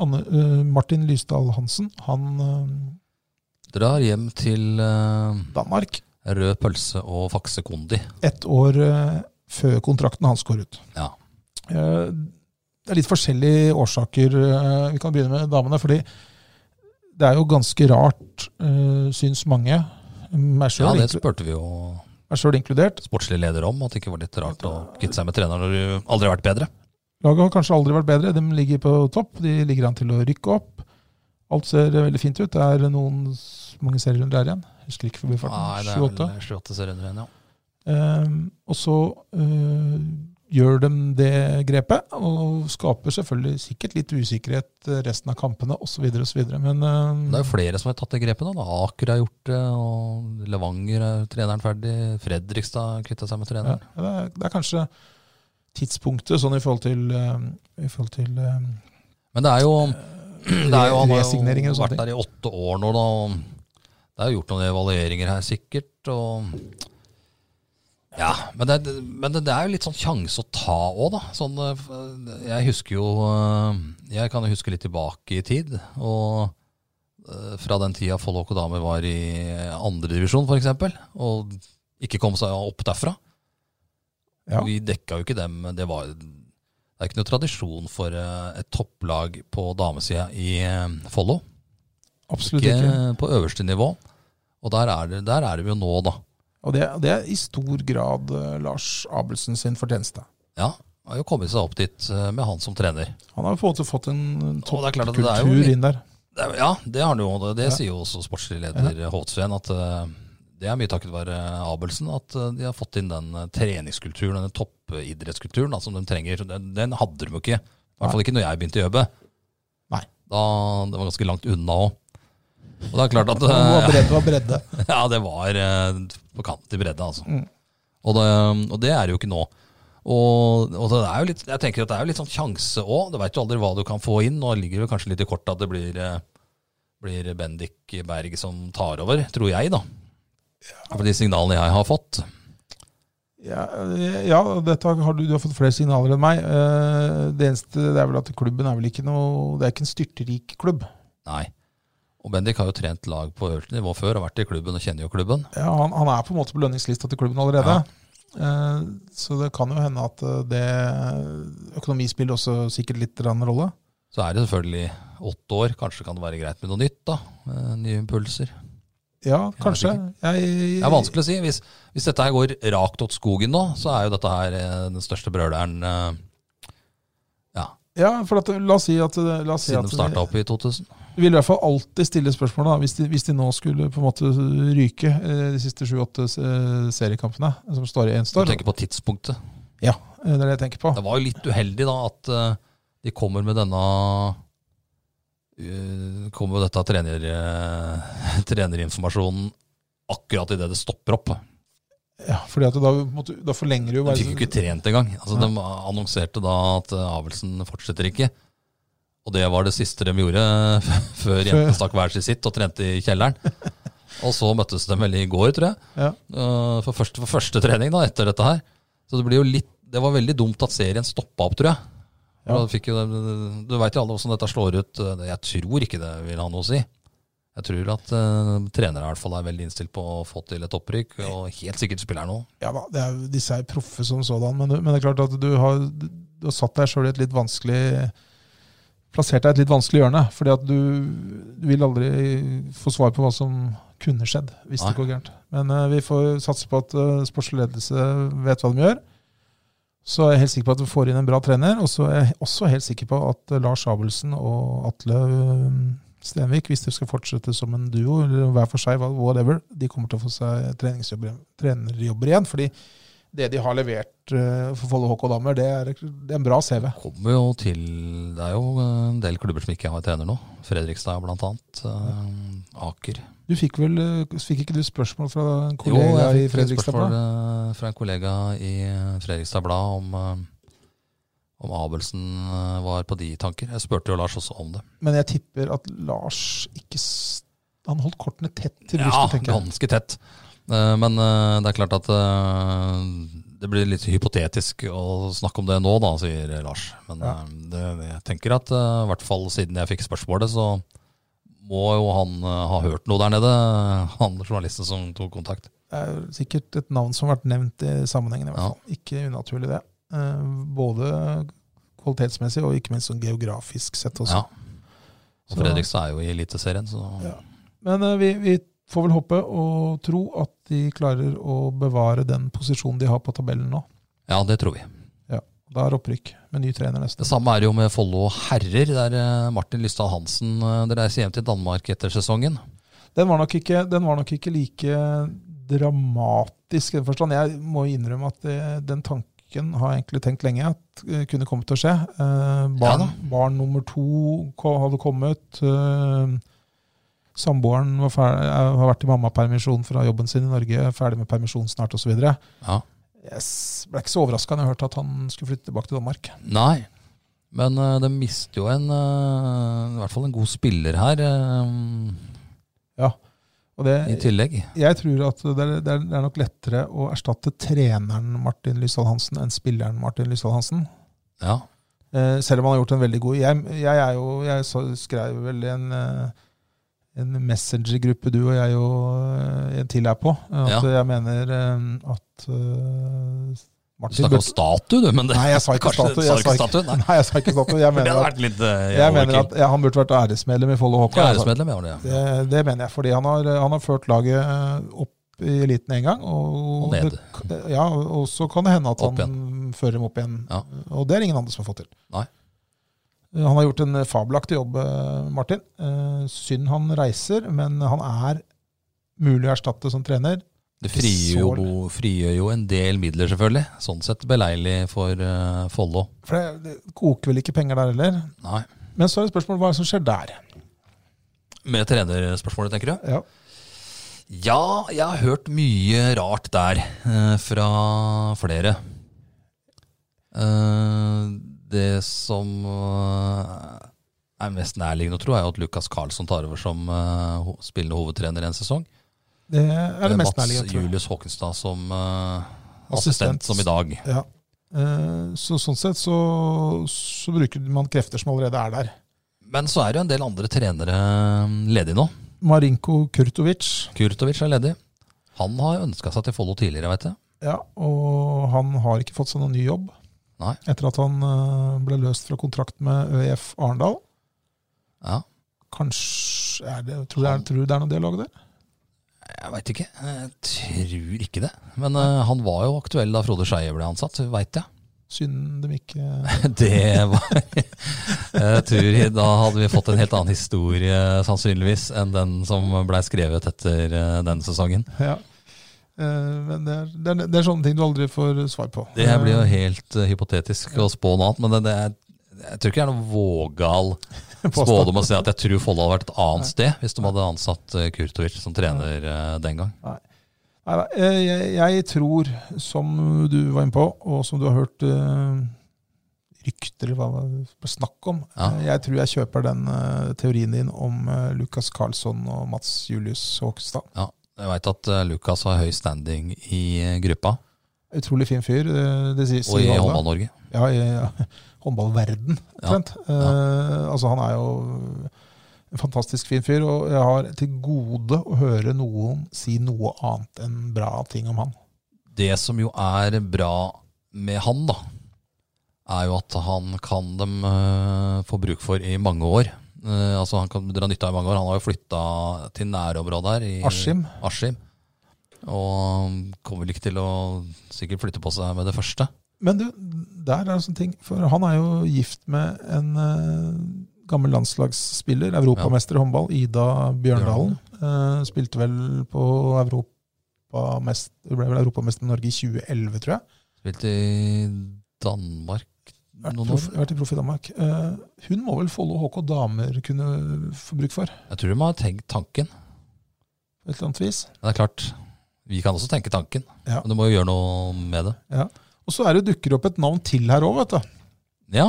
Speaker 1: Anne, eh, Martin Lysdal Hansen, han eh,
Speaker 2: Drar hjem til eh,
Speaker 1: Danmark
Speaker 2: rød pølse og fakse kondi.
Speaker 1: ett år eh, før kontrakten hans går ut.
Speaker 2: Ja.
Speaker 1: Eh, Det er litt forskjellige årsaker. eh, Vi kan begynne med damene. fordi det er jo ganske rart, eh, syns mange, meg
Speaker 2: ja,
Speaker 1: sjøl
Speaker 2: det spurte vi jo
Speaker 1: inkludert.
Speaker 2: sportslig leder om, at det ikke var litt rart å kvitte seg med treneren når du aldri har vært bedre.
Speaker 1: Laget har kanskje aldri vært bedre. De ligger på topp. De ligger an til å rykke opp. Alt ser veldig fint ut. Det er noen s- mange serierunder her igjen. Husker ikke forbi
Speaker 2: Nei,
Speaker 1: farten.
Speaker 2: det er
Speaker 1: 28.
Speaker 2: vel 28 serierunder igjen, ja.
Speaker 1: Ehm, og så eh, gjør de det grepet, og skaper selvfølgelig sikkert litt usikkerhet eh, resten av kampene osv. osv. Men
Speaker 2: Men Det er
Speaker 1: eh,
Speaker 2: jo flere som har tatt det grepet nå. da. Aker har gjort det, og Levanger er treneren ferdig. Fredrikstad kvitta seg med
Speaker 1: ja,
Speaker 2: treneren.
Speaker 1: det, er, det er kanskje tidspunktet sånn i forhold til, eh, i forhold til eh,
Speaker 2: Men det er jo, det er jo Han har
Speaker 1: resigneringer
Speaker 2: jo
Speaker 1: og sånne
Speaker 2: vært der i åtte år nå, da. Og det er jo gjort noen evalueringer her, sikkert. og... Ja, men, det, men det, det er jo litt sånn sjanse å ta òg, da. Sånn, eh, jeg husker jo eh, Jeg kan jo huske litt tilbake i tid. Og eh, fra den tida Follo HK Damer var i andredivisjon, f.eks., og ikke kom seg opp derfra.
Speaker 1: Ja.
Speaker 2: Vi dekka jo ikke dem. Det, var, det er ikke noe tradisjon for eh, et topplag på damesida i eh, Follo.
Speaker 1: Absolutt ikke.
Speaker 2: Ikke på øverste nivå. Og der er, det, der er de jo nå, da.
Speaker 1: Og det, det er i stor grad eh, Lars Abelsen sin fortjeneste.
Speaker 2: Ja, har jo kommet seg opp dit eh, med han som trener.
Speaker 1: Han har på en måte fått en
Speaker 2: Og det er klart at det er jo
Speaker 1: toppkultur
Speaker 2: litt-
Speaker 1: inn der.
Speaker 2: Det er- Ja, det har han jo. og Det, det sier jo også sportslig leder Håtsveen, at eh, det er mye takket være Abelsen at eh, de har fått inn den eh, treningskulturen, denne toppidrettskulturen da, som de trenger. Den, den hadde de jo ikke. I hvert fall ikke når jeg begynte i ØB.
Speaker 1: Nei.
Speaker 2: Da, det var ganske langt unna òg. Og det er klart
Speaker 1: (laughs)
Speaker 2: at
Speaker 1: Det var
Speaker 2: eh,
Speaker 1: bredde, det var bredde.
Speaker 2: (laughs) Ja, det var eh, på kant i bredde, altså.
Speaker 1: Mm.
Speaker 2: Og, det, og det er det jo ikke nå. Og, og det er jo litt, jeg tenker at det er jo litt sånn sjanse òg. Du veit jo aldri hva du kan få inn. Nå ligger det jo kanskje litt i kortet at det blir, eh, blir Bendik Berg som tar over, tror jeg, da. For de signalene jeg har fått.
Speaker 1: Ja, eh, ja dette har du, du har fått flere signaler enn meg. Eh, Det eneste det er vel at klubben er vel ikke noe Det er ikke en styrtrik klubb.
Speaker 2: Nei. Og Bendik har jo trent lag på høyt nivå før, har vært i klubben og kjenner jo klubben.
Speaker 1: Ja, han, han er på en måte på lønningslista til klubben allerede. Eh, Så det kan jo hende at eh, det Økonomi spiller også sikkert litt grann rolle.
Speaker 2: Så er det selvfølgelig åtte år, kanskje kan det være greit med noe nytt, da. Eh, Nye impulser.
Speaker 1: Ja, kanskje. Jeg,
Speaker 2: Det er vanskelig å si. Hvis, hvis dette her går rakt åt skogen nå, så er jo dette her eh, den største brøleren eh, ja,
Speaker 1: Ja, for at, la oss si at, la oss si
Speaker 2: siden
Speaker 1: at
Speaker 2: de starta opp i 2000.
Speaker 1: Vi vil i hvert fall alltid stille spørsmålet da, hvis de, hvis de nå skulle på en måte ryke eh, de siste sju-åtte eh, seriekampene som står igjen.
Speaker 2: Du
Speaker 1: Står.
Speaker 2: tenker på tidspunktet.
Speaker 1: Ja, eh, det er det jeg tenker på.
Speaker 2: Det var jo litt uheldig da at eh, de kommer med denne eh, Kommer med dette trener, eh, (laughs) trenerinformasjonen akkurat idet det stopper opp.
Speaker 1: Ja, fordi at da, på en måte- da forlenger du jo
Speaker 2: De fikk jo ikke
Speaker 1: bare
Speaker 2: trent engang. Altså, de annonserte da at eh, Avelsen fortsetter ikke. Og det var det siste de gjorde (laughs) før jentene stakk hver sitt sitt og trente i kjelleren. Og så møttes de vel i går, tror jeg,
Speaker 1: ja.
Speaker 2: eh, for første, for første trening da, etter dette her. Så det blir jo litt Det var veldig dumt at serien stoppa opp, tror jeg.
Speaker 1: Ja.
Speaker 2: Og da Fikk jo, de- du veit jo alle åssen dette slår ut. eh, Jeg tror ikke det vil ha noe å si. Jeg tror at eh, trenere i hvert fall er veldig innstilt på å få til et opprykk, og helt sikkert spilleren òg.
Speaker 1: ja da, det er, jo- disse er proffe som sådan, men, du- men det er klart at du har, du har satt deg sjøl i et litt vanskelig Plassert deg i et litt vanskelig hjørne. fordi at du, du vil aldri få svar på hva som kunne skjedd hvis det
Speaker 2: Nei.
Speaker 1: går gærent. Men eh, vi får satse på at uh, sportslig ledelse vet hva de gjør. Så er jeg helt sikker på at vi får inn en bra trener. Og så er jeg også helt sikker på at eh, Lars Abelsen og Atle eh, Stenvik, hvis de skal fortsette som en duo, eller hver for seg, hva- whatever, de kommer til å få seg treningsjobber, trenerjobber igjen. fordi det de har levert eh, for Follo HK Damer, det er, det er en bra CV.
Speaker 2: kommer jo til Det er jo en del klubber som ikke har trener nå. Fredrikstad blant annet. eh, Aker.
Speaker 1: Du fikk vel eh, Fikk ikke du spørsmål fra en
Speaker 2: Jo,
Speaker 1: kollega i
Speaker 2: jeg fikk
Speaker 1: Fredrikstad?
Speaker 2: spørsmål
Speaker 1: Blad?
Speaker 2: eh, fra en kollega i Fredrikstad Blad om, eh, om Abelsen eh, var på de tanker. Jeg spurte jo Lars også om det.
Speaker 1: Men jeg tipper at Lars ikke s- Han holdt kortene tett til
Speaker 2: Ja,
Speaker 1: brystet, tenker jeg.
Speaker 2: ganske tett. Eh, Men eh, det er klart at eh, det blir litt hypotetisk å snakke om det nå, da, sier Lars. Men
Speaker 1: Ja.
Speaker 2: eh, det, jeg tenker at eh, i hvert fall siden jeg fikk spørsmålet, så må jo han eh, ha hørt noe der nede, han journalisten som tok kontakt.
Speaker 1: Det er sikkert et navn som har vært nevnt i sammenhengen. i
Speaker 2: Ja.
Speaker 1: hvert fall. Ikke unaturlig, det. Eh, Både kvalitetsmessig og ikke minst sånn geografisk sett også.
Speaker 2: Ja. Og
Speaker 1: Så-
Speaker 2: Fredrikstad er jo i Eliteserien, så
Speaker 1: Ja. Men eh, vi, vi får vel håpe og tro at de klarer å bevare den posisjonen de har på tabellen nå.
Speaker 2: ja, det tror vi.
Speaker 1: Da er opprykk med ny trener neste.
Speaker 2: Det samme er det jo med Follo herrer, der eh, Martin Lystad Hansen eh, det reiser hjem til Danmark etter sesongen.
Speaker 1: Den var nok ikke, den var nok ikke like dramatisk i den forstand. Jeg må innrømme at det, den tanken har jeg egentlig tenkt lenge at eh, kunne komme til å skje. Eh, barn,
Speaker 2: Ja da.
Speaker 1: barn nummer to ko- hadde kommet. Eh, samboeren var fer- eh, har vært i mammapermisjon fra jobben sin i Norge, er ferdig med permisjon snart osv. Jeg
Speaker 2: Ja.
Speaker 1: s- ble ikke så overraska da jeg hørte at han skulle flytte tilbake til Danmark.
Speaker 2: Nei, men eh, de mister jo en eh, i hvert fall en god spiller her eh,
Speaker 1: Og det,
Speaker 2: i tillegg.
Speaker 1: jeg tror at det er, det, er, det er nok lettere å erstatte treneren Martin Lysdal Hansen enn spilleren Martin Lysdal Hansen.
Speaker 2: Ja,
Speaker 1: Eh, selv om han har gjort en veldig god Jeg, jeg er jo, jeg så, skrev vel en, eh, en messengergruppe du og jeg og eh, en til er på, eh, at jeg mener eh, at eh,
Speaker 2: Du
Speaker 1: Martin
Speaker 2: snakker om statue, du, men det,
Speaker 1: Nei, jeg sa ikke
Speaker 2: (laughs) Kanskje
Speaker 1: statue.
Speaker 2: du
Speaker 1: Jeg
Speaker 2: sa ikke
Speaker 1: sa ikke-
Speaker 2: statue, nei.
Speaker 1: (laughs) Nei, jeg sa ikke statue. Jeg
Speaker 2: (laughs) det
Speaker 1: mener
Speaker 2: hadde
Speaker 1: at,
Speaker 2: vært litt eh,
Speaker 1: jeg mener
Speaker 2: overkill.
Speaker 1: at ja, han burde vært æresmedlem i Follo HK.
Speaker 2: Ja,
Speaker 1: altså.
Speaker 2: Æresmedlem, ja. det.
Speaker 1: Det, det mener jeg, fordi han har, han har ført laget eh, opp i eliten en gang. Og,
Speaker 2: Og ned.
Speaker 1: det- ja, og så kan det hende at
Speaker 2: Opp
Speaker 1: han fører dem opp igjen.
Speaker 2: Ja.
Speaker 1: Og det er ingen andre som har fått til.
Speaker 2: Nei.
Speaker 1: Eh, Han har gjort en fabelaktig jobb, eh, Martin. Eh, Synd han reiser, men han er mulig å erstatte som trener.
Speaker 2: Det frigjør jo, frigjør jo en del midler, selvfølgelig. Sånn sett beleilig for eh, Follo.
Speaker 1: For det, det koker vel ikke penger der heller.
Speaker 2: Nei.
Speaker 1: Men så er det spørsmålet hva er det som skjer der.
Speaker 2: Med trenerspørsmålet, tenker du?
Speaker 1: Ja.
Speaker 2: Ja, jeg har hørt mye rart der eh, fra flere. Eh, det som eh, er mest nærliggende å tro, er jo at Lukas Karlsson tar over som eh, ho spillende hovedtrener en sesong.
Speaker 1: Det er det mest
Speaker 2: Mats
Speaker 1: nærliggende, tror jeg.
Speaker 2: Julius Håkenstad som eh,
Speaker 1: Assistent.
Speaker 2: assistent, som i dag.
Speaker 1: Ja. Eh, Så sånn sett så, så bruker man krefter som allerede er der.
Speaker 2: Men så er det jo en del andre trenere ledige nå.
Speaker 1: Marinko Kurtovic.
Speaker 2: Kurtovic er ledig. Han har ønska seg til Follo tidligere, veit du.
Speaker 1: Ja, og han har ikke fått seg noen ny jobb.
Speaker 2: Nei.
Speaker 1: Etter at han eh, ble løst fra kontrakt med ØIF Arendal.
Speaker 2: Ja.
Speaker 1: Kanskje er det, tror, jeg, tror det er noe dialog der?
Speaker 2: Jeg veit ikke. Jeg tror ikke det. Men eh, han var jo aktuell da Frode Skeie ble ansatt, veit jeg. (laughs)
Speaker 1: Synd de ikke (laughs)
Speaker 2: Det var (laughs) Jeg tror da hadde vi fått en helt annen historie sannsynligvis enn den som blei skrevet etter eh, den sesongen.
Speaker 1: ja. Eh, Men det er, det, er, det er sånne ting du aldri får svar på.
Speaker 2: Det her blir jo helt eh, hypotetisk å spå noe annet, men det, det er, jeg tror ikke det er noen vågal
Speaker 1: Eh, (laughs) påstand.
Speaker 2: spådom å si at jeg tror Follo hadde vært et annet sted hvis de hadde ansatt eh, Kurtovic som trener eh, den gang.
Speaker 1: Nei, nei, eh, jeg, jeg tror, som du var inne på, og som du har hørt eh, rykter eller hva det var snakk om,
Speaker 2: Ja.
Speaker 1: eh, jeg tror jeg kjøper den eh, teorien din om eh, Lukas Karlsson og Mats Julius Håkstad.
Speaker 2: Ja, jeg veit at eh, Lukas har høy standing i eh, gruppa
Speaker 1: Utrolig fin fyr. eh, Det sies
Speaker 2: og i
Speaker 1: alle.
Speaker 2: Håndball-Norge.
Speaker 1: Ja, i ja, (laughs) håndballverden, omtrent. Eh, altså, han er jo en fantastisk fin fyr, og jeg har til gode å høre noen si noe annet enn bra ting om han.
Speaker 2: Det som jo er bra med han, da, er jo at han kan dem eh, få bruk for i mange år. Eh, altså Han kan dra nytte av i mange år. Han har jo flytta til nærområdet her. I
Speaker 1: Askim.
Speaker 2: Askim. Og kommer vel ikke til å sikkert flytte på seg med det første.
Speaker 1: Men du, der er det sånne ting, for han er jo gift med en eh, gammel landslagsspiller, europamester i håndball, Ida Bjørndalen. Eh, spilte vel på europamest, ble vel europamester i Norge i 2011, tror jeg.
Speaker 2: Spilte i Danmark
Speaker 1: Vært,
Speaker 2: noen
Speaker 1: proff,
Speaker 2: år.
Speaker 1: vært i proff i Danmark. Eh, hun må vel Follo HK damer kunne få bruk for, på
Speaker 2: Jeg tror de har tenkt tanken.
Speaker 1: et eller annet vis.
Speaker 2: Men det er klart, vi kan også tenke tanken.
Speaker 1: Ja.
Speaker 2: Men du må jo gjøre noe med det.
Speaker 1: Og så er det dukker opp et navn til her òg, vet du.
Speaker 2: Ja.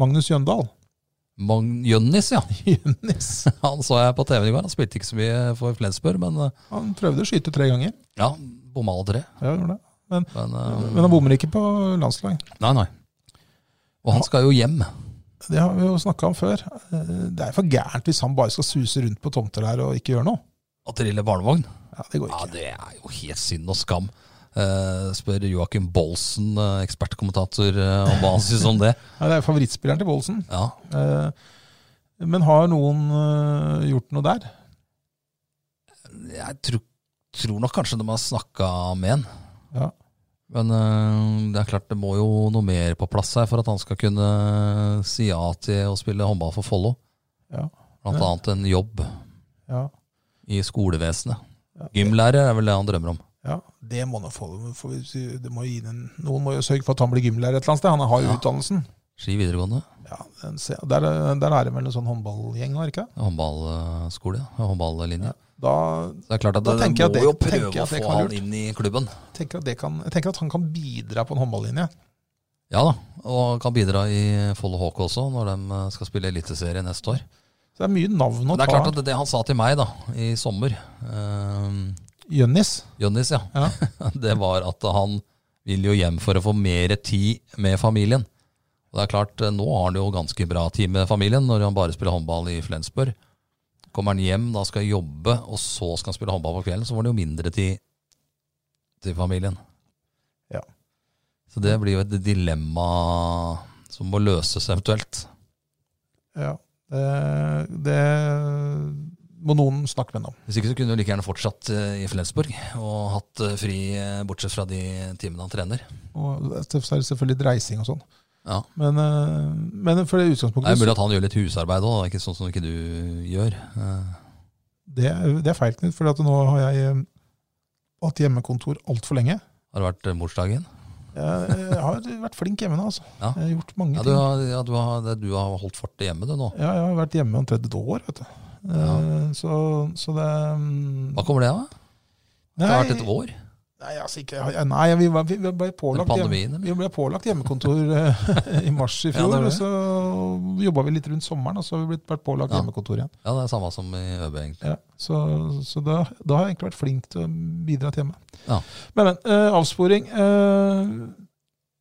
Speaker 1: Magnus Jøndal. (laughs)
Speaker 2: Magn Jønnis, ja.
Speaker 1: Jønnis.
Speaker 2: (laughs) Han så jeg på TV-en i går. Han spilte ikke så mye for Flensburg, men eh,
Speaker 1: Han prøvde å skyte tre ganger.
Speaker 2: ja, bomma alle tre.
Speaker 1: Ja, gjorde det.
Speaker 2: Men, eh,
Speaker 1: Men han bommer ikke på landslag.
Speaker 2: Nei, nei. Og han skal jo hjem.
Speaker 1: Det har vi jo snakka om før. Eh, Det er for gærent hvis han bare skal suse rundt på tomter der og ikke gjøre noe.
Speaker 2: Og trille barnevogn.
Speaker 1: Ja, Det går
Speaker 2: Ja,
Speaker 1: ikke.
Speaker 2: det er jo helt synd og skam. Eh, spør Joakim Bolsen, eh, ekspertkommentator, eh, om hva han syns om det. (laughs)
Speaker 1: Nei, det er favorittspilleren til Woldsen.
Speaker 2: Ja,
Speaker 1: Eh, Men har noen eh, gjort noe der?
Speaker 2: jeg tror, tror nok kanskje de har snakka med han.
Speaker 1: Ja.
Speaker 2: Men eh, det er klart det må jo noe mer på plass her for at han skal kunne eh, si ja til å spille håndball for Follo.
Speaker 1: Ja.
Speaker 2: Blant
Speaker 1: Ja.
Speaker 2: annet en jobb
Speaker 1: Ja.
Speaker 2: i skolevesenet.
Speaker 1: Ja.
Speaker 2: Gymlærer er vel det han drømmer om.
Speaker 1: Ja, det må nå få for vi- det må gi den, Noen må jo sørge for at han blir gymlærer et eller annet sted. Han har jo
Speaker 2: Ja.
Speaker 1: utdannelsen.
Speaker 2: Ski videregående.
Speaker 1: Ja, den ser- der, er- der er det vel en sånn håndballgjeng, er det ikke?
Speaker 2: Håndballskole. ja, Håndballinje.
Speaker 1: Da
Speaker 2: Så det er klart at
Speaker 1: Da
Speaker 2: det- den
Speaker 1: tenker jeg
Speaker 2: må
Speaker 1: det-
Speaker 2: jo
Speaker 1: tenker
Speaker 2: prøve
Speaker 1: jeg
Speaker 2: å
Speaker 1: at det
Speaker 2: få
Speaker 1: kan være
Speaker 2: han
Speaker 1: lurt.
Speaker 2: inn i klubben.
Speaker 1: tenker jeg at, det kan, jeg tenker at han kan bidra på en håndballinje.
Speaker 2: Ja da, og kan bidra i Follo HK også, når de eh, skal spille Eliteserie neste år.
Speaker 1: Så det er mye navn å
Speaker 2: Men det er klart
Speaker 1: ta.
Speaker 2: at det han sa til meg da, i sommer, eh,
Speaker 1: Jønnis.
Speaker 2: Jønnis, ja,
Speaker 1: Ja.
Speaker 2: (laughs) det var at han vil jo hjem for å få mer tid med familien. Og det er klart, eh, nå har han jo ganske bra tid med familien når han bare spiller håndball i Flensburg. Kommer han hjem, da skal han jobbe, og så skal han spille håndball på kvelden, så får han jo mindre tid til familien.
Speaker 1: Ja.
Speaker 2: Så det blir jo et dilemma som må løses eventuelt.
Speaker 1: Ja, det, det må noen snakke med ham om.
Speaker 2: Hvis ikke så kunne han like gjerne fortsatt eh, i Flensburg og hatt eh, fri eh, bortsett fra de timene han trener.
Speaker 1: Og så er det selvfølgelig litt reising og sånn.
Speaker 2: Ja.
Speaker 1: Men, eh, men for det
Speaker 2: Det er
Speaker 1: utgangspunktet
Speaker 2: mulig at han gjør litt husarbeid òg, ikke sånn som ikke du gjør. Eh,
Speaker 1: det, er- det er feil, Knut, for nå har jeg eh, hatt hjemmekontor altfor lenge.
Speaker 2: Har det vært eh, morsdagen?
Speaker 1: Jeg, jeg har vært flink hjemme nå, altså.
Speaker 2: Ja.
Speaker 1: Jeg har gjort mange
Speaker 2: Ja, du
Speaker 1: ting.
Speaker 2: har, ja, du har, det- du har holdt fortet hjemme du nå.
Speaker 1: Ja, jeg har vært hjemme omtrent et år, vet du. Eh,
Speaker 2: Ja.
Speaker 1: Så, så det mm,
Speaker 2: Hva kommer det av? Det har vært et år.
Speaker 1: Nei, altså ikke, nei vi, var, vi ble pålagt, hjem,
Speaker 2: Pandemien, eller?
Speaker 1: vi ble pålagt hjemmekontor eh, (laughs) i mars i
Speaker 2: Ja,
Speaker 1: fjor.
Speaker 2: det
Speaker 1: og
Speaker 2: ble det.
Speaker 1: så jobba vi litt rundt sommeren, og så har vi blitt vært pålagt
Speaker 2: Ja.
Speaker 1: hjemmekontor igjen.
Speaker 2: Ja, det er samme som i ØB, egentlig.
Speaker 1: Ja, så så da, da har jeg egentlig vært flink til å bidra hjemme.
Speaker 2: Ja.
Speaker 1: Men, men eh, avsporing. Eh,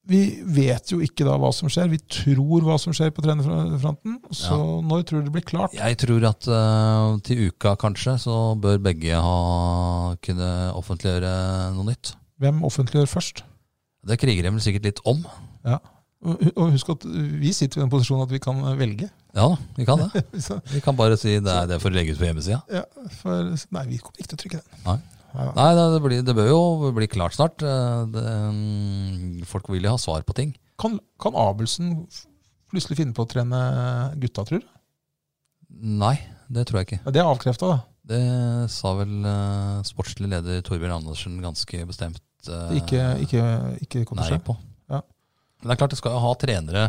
Speaker 1: vi vet jo ikke da hva som skjer. Vi tror hva som skjer på trenerfronten. Så når tror du det blir klart?
Speaker 2: Jeg tror at eh, til uka kanskje så bør begge ha kunne offentliggjøre noe nytt.
Speaker 1: Hvem offentliggjør først?
Speaker 2: Det kriger de vel sikkert litt om.
Speaker 1: Og og husk at vi sitter i den posisjonen at vi kan velge. (laughs)
Speaker 2: Ja da, vi kan det.
Speaker 1: Så,
Speaker 2: Vi kan bare si det er det for å legge ut på hjemmesida.
Speaker 1: ja, for, nei, vi kommer ikke til å trykke den.
Speaker 2: Nei.
Speaker 1: Neida.
Speaker 2: Nei, nei, det, blir, det bør jo bli klart snart. Eh, Det, mm, folk vil jo ha svar på ting.
Speaker 1: Kan, kan Abelsen f- plutselig finne på å trene gutta, tror du?
Speaker 2: Nei, det tror jeg ikke.
Speaker 1: Ja, det er avkrefta, da.
Speaker 2: Det sa vel eh, sportslig leder Torbjørn Andersen ganske bestemt
Speaker 1: Det
Speaker 2: eh,
Speaker 1: Ikke, ikke, ikke kommer
Speaker 2: nei
Speaker 1: til å skje.
Speaker 2: på.
Speaker 1: Ja.
Speaker 2: Men det er klart, du skal jo ha trenere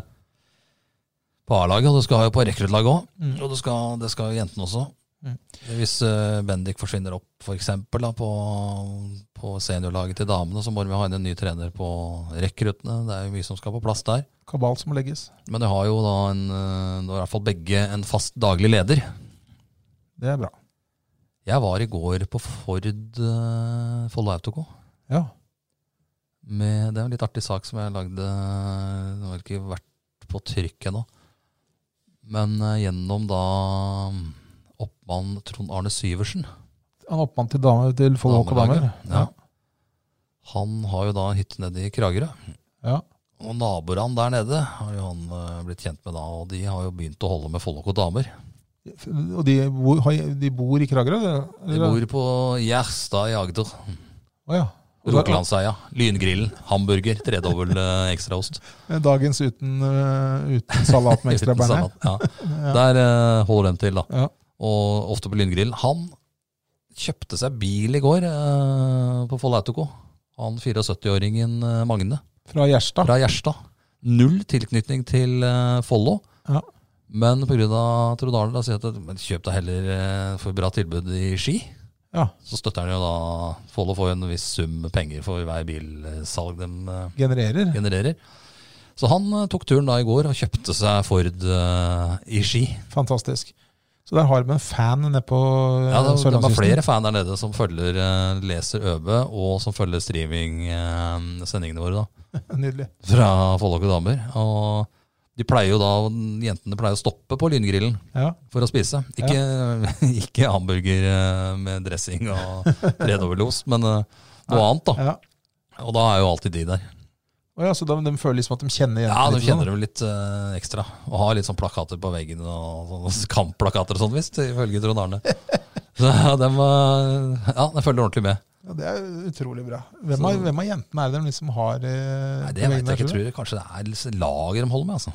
Speaker 2: på A-laget, og du skal ha jo på rekruttlaget òg.
Speaker 1: Mm.
Speaker 2: Og det skal, det skal jo jentene også.
Speaker 1: Mm.
Speaker 2: Hvis eh, Bendik forsvinner opp, f.eks. på, på seniorlaget til damene, så må vi ha inn en ny trener på rekruttene. Det er jo mye som skal på plass der.
Speaker 1: Kabal som må legges.
Speaker 2: Men du har jo da en, eh, du har i hvert fall begge en fast daglig leder.
Speaker 1: Det er bra.
Speaker 2: Jeg var i går på Ford eh, Follo Autoco.
Speaker 1: Ja.
Speaker 2: Med, det er en litt artig sak som jeg lagde Den har ikke vært på trykk ennå. Men eh, gjennom da mm, oppmann Trond Arne Syversen.
Speaker 1: Han er oppmann til, dame, til Follo Håk og damer.
Speaker 2: Damelaget, ja. Han har jo da en hytte nede i Kragerø.
Speaker 1: Ja.
Speaker 2: Og naboene der nede har jo han eh, blitt kjent med da, og de har jo begynt å holde med Follok og damer.
Speaker 1: Og de bor, har- de bor i Kragerø? det-
Speaker 2: De
Speaker 1: eller?
Speaker 2: bor på Gjerstad i Agder.
Speaker 1: Å ja.
Speaker 2: Rogalandseia. Lyngrillen. Hamburger. Tredobbel eh, ekstraost.
Speaker 1: Dagens uten, eh, uten salat
Speaker 2: (laughs)
Speaker 1: med ekstra
Speaker 2: Uten
Speaker 1: bearnés.
Speaker 2: salat, Ja. Der eh, holder de til, da.
Speaker 1: Ja.
Speaker 2: og ofte på Lyngrill. Han kjøpte seg bil i går eh, på Foll Autoco. Han 74-åringen eh, Magne
Speaker 1: Fra Gjerstad.
Speaker 2: fra Gjerstad. Null tilknytning til eh, Follo.
Speaker 1: Ja.
Speaker 2: Men pga. Trond Arne da sier at men kjøp deg heller eh, for bra tilbud i Ski.
Speaker 1: Ja.
Speaker 2: Så støtter han jo da Follo får jo en viss sum med penger for hver bilsalg de eh,
Speaker 1: Genererer.
Speaker 2: genererer. Så han eh, tok turen da i går og kjøpte seg Ford eh, i Ski.
Speaker 1: Fantastisk. Så der har de en fan nede på eh,
Speaker 2: Ja, det, det var
Speaker 1: Sørlandskysten.
Speaker 2: flere fan der nede som følger, eh, leser Øbe, og som følger streaming-sendingene våre da,
Speaker 1: Nydelig.
Speaker 2: fra Follåk og damer. Og de pleier jo da, jentene pleier å stoppe på lyngrillen
Speaker 1: Ja.
Speaker 2: for å spise. Ikke, (laughs) ikke hamburger eh, med dressing og redoverlos, men eh, noe annet da.
Speaker 1: Ja.
Speaker 2: Og da er jo alltid de der.
Speaker 1: Å ja, så de, de føler liksom at de kjenner jentene?
Speaker 2: Ja, de
Speaker 1: litt
Speaker 2: kjenner
Speaker 1: sånn,
Speaker 2: dem litt eh, ekstra. Og har litt sånn plakater på veggen, og sånne kampplakater og sånn (laughs) visst, ifølge
Speaker 1: (laughs)
Speaker 2: Trond Arne. Så de, eh, ja, de følger ordentlig med.
Speaker 1: da? Ja, det er utrolig bra. Hvem av,
Speaker 2: Så-
Speaker 1: hvem av jentene er det de liksom har eh,
Speaker 2: Nei,
Speaker 1: på
Speaker 2: Det
Speaker 1: veggen der,
Speaker 2: vet jeg ikke. Jeg
Speaker 1: tror du?
Speaker 2: tror kanskje det er litt lager de holder med. altså.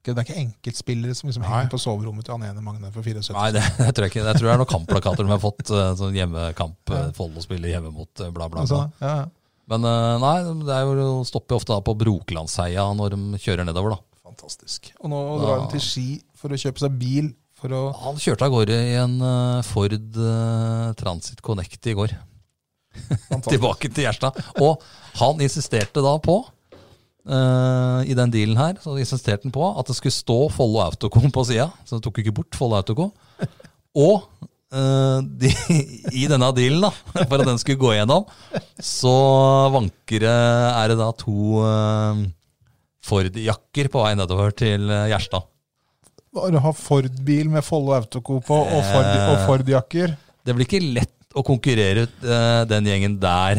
Speaker 1: Ikke- Det er ikke enkeltspillere som liksom henger på soverommet til han ene Magne for 74?
Speaker 2: Nei, (laughs) det, jeg tror jeg ikke. Jeg tror det er noen kampplakater de har fått. eh, Sånn hjemmekamp, eh,
Speaker 1: Ja.
Speaker 2: Follo spiller hjemme mot eh, bla, bla,
Speaker 1: Altså,
Speaker 2: bla.
Speaker 1: ja, ja.
Speaker 2: Men eh, nei, det er jo, de stopper jo ofte da på Brokelandsheia når de kjører nedover, da.
Speaker 1: Fantastisk. Og nå drar han til Ski for å kjøpe seg bil for å
Speaker 2: Han kjørte av gårde i en eh, Ford eh, Transit Connect i går. (laughs) Tilbake til Gjerstad. Og han insisterte da på eh, i den dealen her, så insisterte han på at det skulle stå Follo Autoco på sida. Så det tok ikke bort Follo Autoco. Og eh, de, i denne dealen, da, for at den skulle gå gjennom, så vanker det er det da to eh, Ford-jakker på vei nedover til eh, Gjerstad.
Speaker 1: Bare ha Ford-bil med Follo Autoco på, og Ford- og
Speaker 2: Eh.
Speaker 1: Ford-jakker.
Speaker 2: Det blir ikke lett å konkurrere ut eh, den gjengen der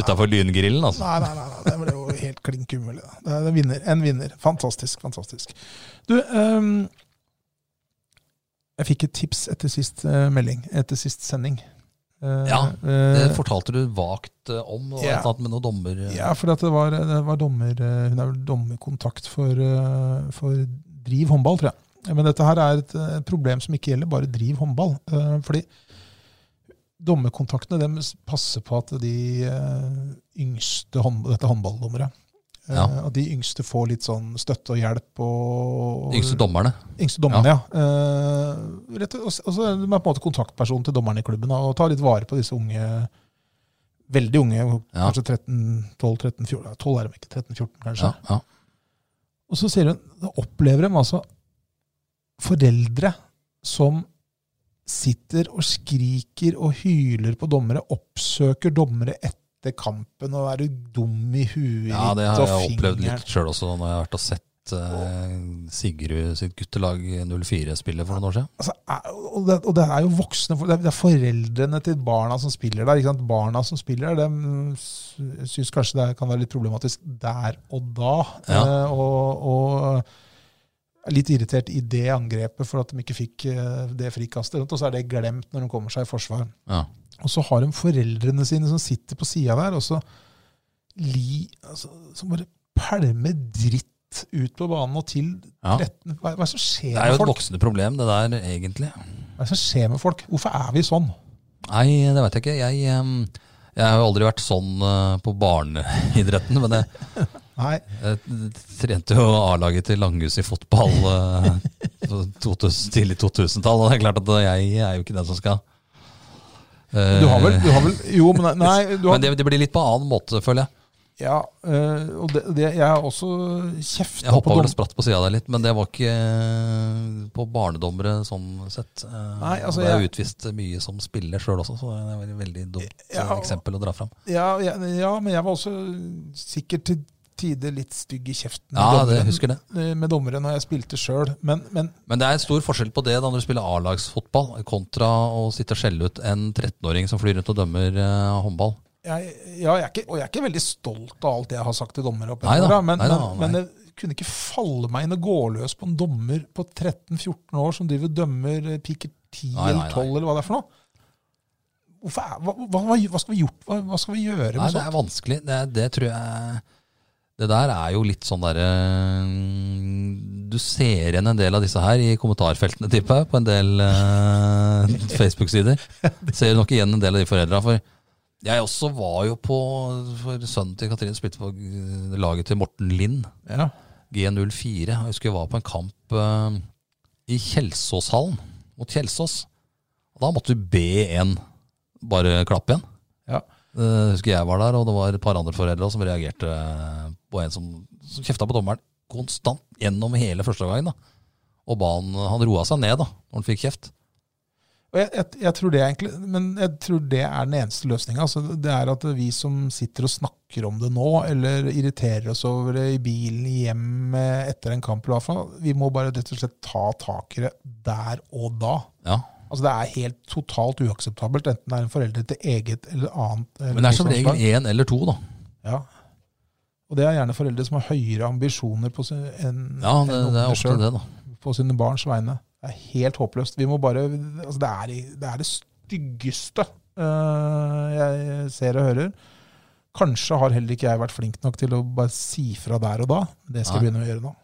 Speaker 2: utafor Lyngrillen, altså.
Speaker 1: Nei, nei, nei, nei, det ble jo helt klink umulig. da. Det er en vinner. En vinner. Fantastisk, fantastisk. Du, ehm, jeg fikk et tips etter sist eh, melding, etter sist sending. Eh,
Speaker 2: Ja,
Speaker 1: eh,
Speaker 2: Det fortalte du vagt eh, om, og
Speaker 1: Ja.
Speaker 2: et eller annet med noen dommer. eh.
Speaker 1: ja, fordi at det var, det var dommer, eh, hun er vel dommerkontakt for, eh, for Driv håndball, tror jeg. Men dette her er et eh, problem som ikke gjelder bare Driv håndball. eh, Fordi dommerkontaktene dem passer på at de eh, yngste hånd, dette er håndballdommere, eh,
Speaker 2: Ja.
Speaker 1: at de yngste får litt sånn støtte og hjelp. Og,
Speaker 2: De yngste dommerne.
Speaker 1: Yngste dommerne, ja. Eh, rett og, og så er de på en måte kontaktperson til dommerne i klubben da, og tar litt vare på disse unge, veldig unge,
Speaker 2: Ja.
Speaker 1: kanskje 13-12-13-14, 12 er de ikke, 13-14 kanskje.
Speaker 2: Ja, ja.
Speaker 1: Og så sier hun, da opplever de altså foreldre som sitter og skriker og hyler på dommere, oppsøker dommere etter etter kampen og er du dum i huet
Speaker 2: Ja, det
Speaker 1: ditt,
Speaker 2: har
Speaker 1: og
Speaker 2: jeg opplevd
Speaker 1: fingeren-
Speaker 2: litt sjøl også, når jeg har vært og sett eh, Sigrud sitt guttelag 04 spille for noen år siden.
Speaker 1: altså, er- og, det, og det er jo voksne for- Det er- det er foreldrene til barna som spiller der. Ikke sant? Barna som spiller der, de syns kanskje det kan være litt problematisk der og da.
Speaker 2: Ja.
Speaker 1: Eh, og, og er litt irritert i det angrepet for at de ikke fikk eh, det frikastet. Og så er det glemt når de kommer seg i forsvar.
Speaker 2: Ja.
Speaker 1: Og så har de foreldrene sine som sitter på sida der, og så li, altså, som bare pælmer dritt ut på banen og til
Speaker 2: Ja.
Speaker 1: 13 Hva, hva er det som skjer
Speaker 2: Det er
Speaker 1: med
Speaker 2: jo et
Speaker 1: folk?
Speaker 2: voksende problem, det der, egentlig.
Speaker 1: Hva er det som skjer med folk? Hvorfor er vi sånn?
Speaker 2: Nei, det veit jeg ikke. Jeg, em, jeg har jo aldri vært sånn eh, på barneidretten, men jeg,
Speaker 1: Nei,
Speaker 2: jeg trente jo A-laget til Langhus i fotball eh, på 2000, tidlig 2000-tall, og det er klart at jeg er jo ikke den som skal eh,
Speaker 1: du har vel, du har vel Jo, men nei, nei du har,
Speaker 2: Men det, det blir litt på annen måte, føler jeg.
Speaker 1: ja, eh, og det, det, Jeg har også kjefta
Speaker 2: Jeg
Speaker 1: på
Speaker 2: hoppa vel og
Speaker 1: dom...
Speaker 2: spratt på sida der litt, men det var ikke eh, på barnedommere sånn sett. Eh,
Speaker 1: Nei, altså,
Speaker 2: det er jo utvist mye som spiller sjøl også, så det er et veldig dumt eh,
Speaker 1: Ja.
Speaker 2: eksempel å dra fram.
Speaker 1: Ja, ja, ja, men jeg var også sikkert til tider litt stygg i kjeften
Speaker 2: Ja,
Speaker 1: med,
Speaker 2: det
Speaker 1: dommeren,
Speaker 2: husker det.
Speaker 1: eh, med dommere når jeg spilte sjøl. Men, men
Speaker 2: Men det er stor forskjell på det da når du spiller A-lagsfotball, kontra å sitte og skjelle ut en 13-åring som flyr rundt og dømmer eh, håndball.
Speaker 1: jeg, ja, jeg er ikke, og jeg er ikke veldig stolt av alt jeg har sagt til dommere. opp
Speaker 2: Nei da,
Speaker 1: gjennom åra, men,
Speaker 2: nei da,
Speaker 1: men, men det kunne ikke falle meg inn å gå løs på en dommer på 13-14 år som driver og dømmer eh, piker 10
Speaker 2: Nei, nei,
Speaker 1: eller 12,
Speaker 2: nei.
Speaker 1: eller hva det er for noe. Hvorfor er, hva, hva, hva, hva, skal vi gjort, hva, hva skal vi gjøre med
Speaker 2: Nei, det
Speaker 1: sånt?
Speaker 2: er vanskelig. Det, det tror jeg Det der er jo litt sånn derre mm, Du ser igjen en del av disse her i kommentarfeltene, tipper jeg, på en del eh, Facebook-sider. Ser nok igjen en del av de foreldra. For jeg også var jo på For sønnen til Katrine spilte på eh, laget til Morten Lind,
Speaker 1: sånn? Ja.
Speaker 2: G04. Jeg husker jeg var på en kamp eh, i Kjelsåshallen mot Kjelsås. Og da måtte du be en bare klappe igjen.
Speaker 1: Ja.
Speaker 2: Eh, husker jeg var der, og det var et par andre foreldre også som reagerte eh, på en som, som kjefta på dommeren konstant gjennom hele første gangen. da. Og ba han, han roa seg ned da, når han fikk kjeft.
Speaker 1: Og jeg, jeg, jeg tror det er egentlig, men jeg tror det er den eneste løsninga. Altså, det er at vi som sitter og snakker om det nå, eller irriterer oss over det i bilen hjem eh, etter en kamp, eller hva for noe, vi må bare rett og slett ta tak i det der og da.
Speaker 2: Ja.
Speaker 1: Altså, det er helt totalt uakseptabelt, enten det er en forelder til eget eller annet. Eller
Speaker 2: Men det er som regel
Speaker 1: motstandslag.
Speaker 2: én eller to, da.
Speaker 1: Ja. Og det er gjerne foreldre som har høyere ambisjoner på sin, enn
Speaker 2: Ja, det,
Speaker 1: enn
Speaker 2: det
Speaker 1: ungene
Speaker 2: er ofte
Speaker 1: selv
Speaker 2: det, da.
Speaker 1: på sine barns vegne. Det er helt håpløst. Vi må bare, altså det, er, i- det er det styggeste eh, jeg ser og hører. Kanskje har heller ikke jeg vært flink nok til å bare si fra der og da. Det skal jeg
Speaker 2: Nei.
Speaker 1: begynne å gjøre nå.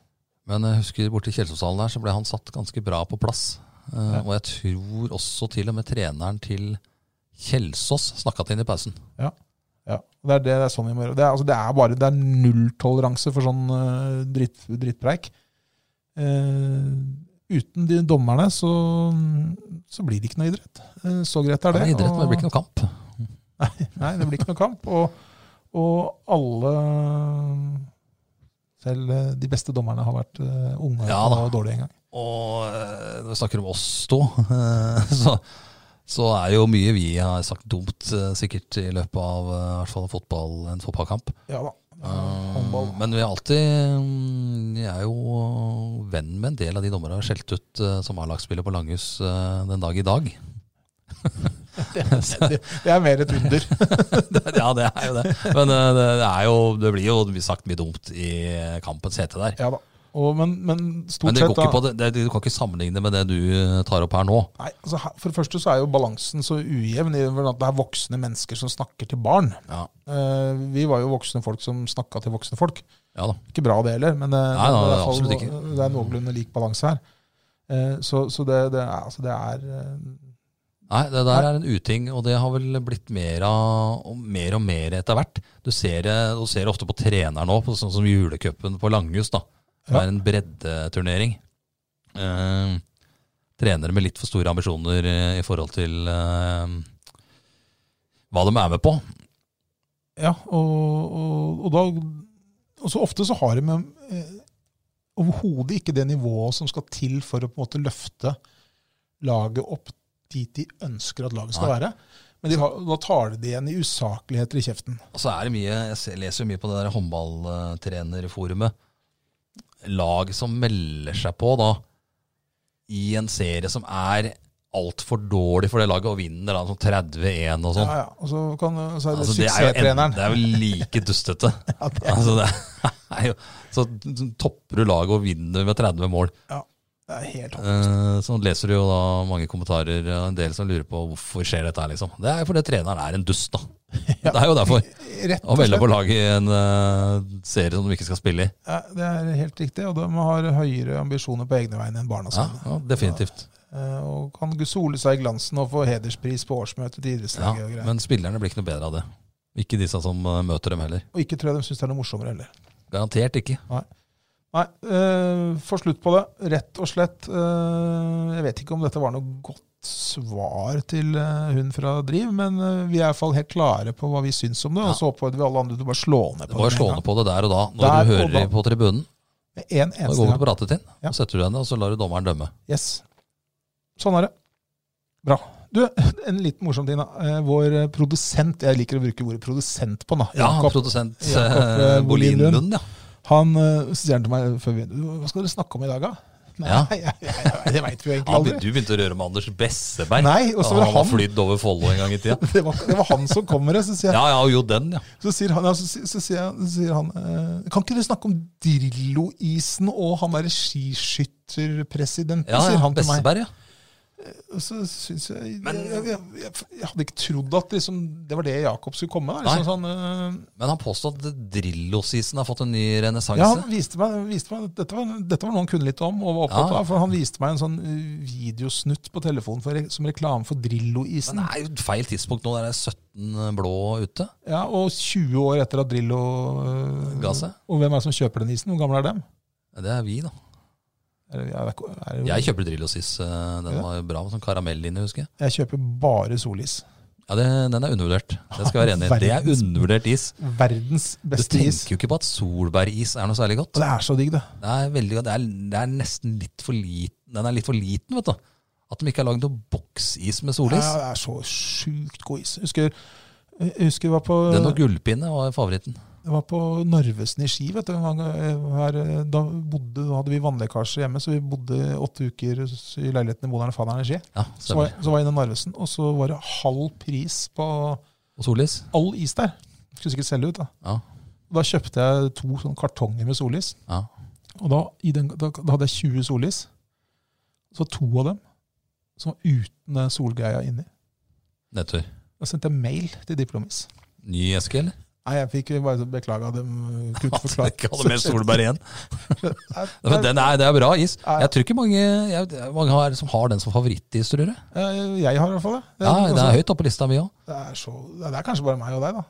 Speaker 2: Men jeg husker borte i Kjelsåshallen der, så ble han satt ganske bra på plass. Eh, Og jeg tror også til og med treneren til Kjelsås snakka til ham i pausen.
Speaker 1: Ja, det er, det, det er sånn vi må gjøre. Det er, altså, det er bare det er nulltoleranse for sånn eh, dritt, drittpreik. Eh, uten de dommerne så, så blir det ikke noe idrett. Eh, så greit er
Speaker 2: Det
Speaker 1: det.
Speaker 2: er idrett, men det
Speaker 1: og-
Speaker 2: blir ikke noe kamp.
Speaker 1: Nei, det blir ikke noe kamp. Og, og alle Selv eh, de beste dommerne har vært eh, unge
Speaker 2: Ja da.
Speaker 1: og dårlige en gang.
Speaker 2: Og eh, når vi snakker om oss to, (laughs) eh, så, så er jo mye vi har sagt dumt eh, sikkert i løpet av eh, i hvert fall fotball, en fotballkamp.
Speaker 1: Ja da.
Speaker 2: Eh,
Speaker 1: Håndball.
Speaker 2: Men vi er alltid mm, Jeg er jo venn med en del av de dommerne jeg har skjelt ut eh, som A-lagsspiller på Langhus eh, den dag i dag. (laughs)
Speaker 1: Det, det er mer et under.
Speaker 2: ja, det er jo det. Men eh, det, det er jo, det blir jo sagt mye dumt i kampens hete der.
Speaker 1: (laughs) Ja da. Og, men, men
Speaker 2: Men
Speaker 1: stort
Speaker 2: det
Speaker 1: sett
Speaker 2: går
Speaker 1: da,
Speaker 2: ikke på det, det, du kan ikke sammenligne med det du eh, tar opp her nå.
Speaker 1: nei, altså, her- For det første så er jo balansen så ujevn i hvordan det er voksne mennesker som snakker til barn.
Speaker 2: Ja,
Speaker 1: Eh, vi var jo voksne folk som snakka til voksne folk.
Speaker 2: ja da.
Speaker 1: Ikke bra det heller, men det,
Speaker 2: Nei, nei,
Speaker 1: det, er i
Speaker 2: nei,
Speaker 1: hvert fall-
Speaker 2: absolutt ikke.
Speaker 1: det er noenlunde lik balanse her. Eh, så så det, det er, altså, det er eh,
Speaker 2: Nei, det der er en uting, og det har vel blitt mer, av, og mer og mer etter hvert. Du ser det du ser det ofte på treneren nå, på sånn som julecupen på Langhus. da. Det
Speaker 1: Ja.
Speaker 2: er en breddeturnering. Eh, trenere med litt for store ambisjoner eh, i forhold til eh, hva de er med på.
Speaker 1: Ja, og, og, og, da, og så ofte så har de eh, overhodet ikke det nivået som skal til for å på en måte løfte laget opp dit de ønsker at laget skal
Speaker 2: Nei.
Speaker 1: være. Men de har, da tar de det igjen i usakligheter i kjeften.
Speaker 2: Og så er det mye, jeg ser- leser jo mye på det der håndballtrenerforumet. Lag som melder seg på da, i en serie som er altfor dårlig for det laget, og vinner da, sånn 31 og sånn.
Speaker 1: Ja, ja. Og så, kan, så er det
Speaker 2: Altså, det, er jo
Speaker 1: (laughs)
Speaker 2: en,
Speaker 1: suksesstreneren.
Speaker 2: det er jo like
Speaker 1: (laughs)
Speaker 2: dustete. (laughs) altså, det er jo, så topper du laget og vinner med 30 mål.
Speaker 1: Ja, det er helt håpløst.
Speaker 2: Eh, Så leser du jo da mange kommentarer, og en del som lurer på hvorfor skjer dette her, liksom. Det er jo fordi treneren er en dust,
Speaker 1: (laughs)
Speaker 2: da. Det er jo derfor.
Speaker 1: Rett
Speaker 2: Han
Speaker 1: og
Speaker 2: melder
Speaker 1: slett.
Speaker 2: på laget i en eh, serie som de ikke skal spille i.
Speaker 1: Ja, det er helt riktig. Og de har høyere ambisjoner på egne vegne enn barna
Speaker 2: Ja,
Speaker 1: sine.
Speaker 2: ja definitivt.
Speaker 1: Eh, Og kan sole seg i glansen og få hederspris på årsmøtet til
Speaker 2: Ja,
Speaker 1: idrettslaget og greier.
Speaker 2: men spillerne blir ikke noe bedre av det. Ikke disse som eh, møter dem heller.
Speaker 1: Og ikke tror jeg de syns det er noe morsommere heller.
Speaker 2: Garantert ikke.
Speaker 1: Nei, eh, få slutt på det. Rett og slett. eh, jeg vet ikke om dette var noe godt svar til eh, hun fra Driv, men eh, vi er i hvert fall helt klare på hva vi syns om det.
Speaker 2: Ja.
Speaker 1: Og så oppfordrer vi alle andre til å bare slå ned
Speaker 2: Det
Speaker 1: på
Speaker 2: var
Speaker 1: med en
Speaker 2: slående
Speaker 1: gang.
Speaker 2: på det der og da. Når
Speaker 1: Der
Speaker 2: du
Speaker 1: og da.
Speaker 2: hører på tribunen,
Speaker 1: Med en
Speaker 2: da
Speaker 1: eneste
Speaker 2: går du
Speaker 1: gang.
Speaker 2: på rattet din,
Speaker 1: Ja.
Speaker 2: og setter du henne, og så lar du dommeren dømme.
Speaker 1: Yes. Sånn er det. Bra. Du, (laughs) en liten morsom ting, da. Eh, Vår eh, produsent, jeg liker å bruke ordet produsent på han, da.
Speaker 2: Ja,
Speaker 1: Jakob,
Speaker 2: produsent
Speaker 1: Jakob,
Speaker 2: eh,
Speaker 1: eh, Bolin
Speaker 2: Bolin Lund, ja.
Speaker 1: han eh, sier han til meg før vi Hva skal dere snakke om i dag, da? (laughs) Nei,
Speaker 2: Ja.
Speaker 1: jeg, jeg, jeg, det veit vi jo egentlig
Speaker 2: Han,
Speaker 1: aldri.
Speaker 2: du begynte å røre med Anders Besseberg.
Speaker 1: Nei, og så var det
Speaker 2: han var
Speaker 1: han.
Speaker 2: flydd over Follo en gang i tida.
Speaker 1: (laughs) Det var, det var han som kom med det. Så sier, jeg,
Speaker 2: Ja, ja, jo den, ja.
Speaker 1: så sier han, ja, så, sier- så sier jeg, så sier han eh, Kan ikke du snakke om Drillo-isen og han derre skiskytterpresidenten?
Speaker 2: ja,
Speaker 1: sier
Speaker 2: ja
Speaker 1: han til meg.
Speaker 2: Besseberg, ja.
Speaker 1: Og så synes jeg,
Speaker 2: Men-
Speaker 1: jeg, jeg, jeg, jeg hadde ikke trodd at liksom, det var det Jakob skulle komme med. da. Liksom, sånn, eh,
Speaker 2: Men han påstod at Drillo-season har fått en ny renessanse.
Speaker 1: ja, han viste meg, viste meg at dette, var, dette var noe han kunne litt om og var opptatt
Speaker 2: Ja.
Speaker 1: av. For han viste meg en sånn eh, videosnutt på telefonen for, som reklame for
Speaker 2: Men
Speaker 1: Drillo-isen.
Speaker 2: det er jo feil tidspunkt nå. Det er 17 blå ute.
Speaker 1: Ja, og 20 år etter at Drillo eh,
Speaker 2: Ga seg.
Speaker 1: Og hvem er det som kjøper den isen? Hvor gamle er dem?
Speaker 2: Det er vi, da.
Speaker 1: Er det, er det, ikke- er det,
Speaker 2: Jeg kjøper Drillo sis. eh, Den
Speaker 1: Ja.
Speaker 2: var jo bra med sånn karamell inni, husker jeg.
Speaker 1: Jeg kjøper bare solis.
Speaker 2: Ja, det, Den er undervurdert. Det skal jeg være
Speaker 1: (laughs)
Speaker 2: enig i. Det er
Speaker 1: Verdens-
Speaker 2: undervurdert is.
Speaker 1: Verdens
Speaker 2: Du
Speaker 1: beste is.
Speaker 2: tenker jo ikke på at solbæris er noe særlig
Speaker 1: Og
Speaker 2: godt.
Speaker 1: det er så digg, det.
Speaker 2: Det er, veldig, godt. det er, det er nesten litt for liten. Den er litt for liten, vet du. At de ikke har lagd noe boksis med solis.
Speaker 1: Ja, det er så sjukt god is. Jeg husker, jeg husker jeg var på,
Speaker 2: Den og gullpinne var favoritten.
Speaker 1: jeg var på Narvesen i Ski. Vet du, en gang eh, her, eh, da, bodde, da hadde vi vannlekkasje hjemme, så vi bodde åtte uker i leiligheten til moderne Fanneren i Ski.
Speaker 2: Ja,
Speaker 1: Så var,
Speaker 2: stemmer.
Speaker 1: jeg- så var jeg inne i Narvesen, og så var det halv pris på
Speaker 2: Og solis.
Speaker 1: all is der. Skulle sikkert selge ut, da.
Speaker 2: Ja,
Speaker 1: Da kjøpte jeg to sånne kartonger med solis.
Speaker 2: ja.
Speaker 1: Og da, i den, da, da hadde jeg 20 sollys. Så to av dem som var uten det solgreia inni.
Speaker 2: Nedtur.
Speaker 1: Da sendte jeg mail til Diplomis.
Speaker 2: Ny eske, eller?
Speaker 1: Nei, jeg fikk bare beklage at de øh, kunne
Speaker 2: (laughs)
Speaker 1: ikke
Speaker 2: At de
Speaker 1: forklare.
Speaker 2: ikke hadde mer solbær igjen.
Speaker 1: (laughs) Nei,
Speaker 2: Nei, men den er, det er bra is.
Speaker 1: Ja, ja.
Speaker 2: Jeg tror ikke mange, jeg, det er mange har, som har den som favorittis, tror jeg.
Speaker 1: eh, Jeg har i hvert fall det. altså-
Speaker 2: Ja, det er høyt oppe på lista mi òg.
Speaker 1: Det er, så, det er kanskje bare meg og deg, da.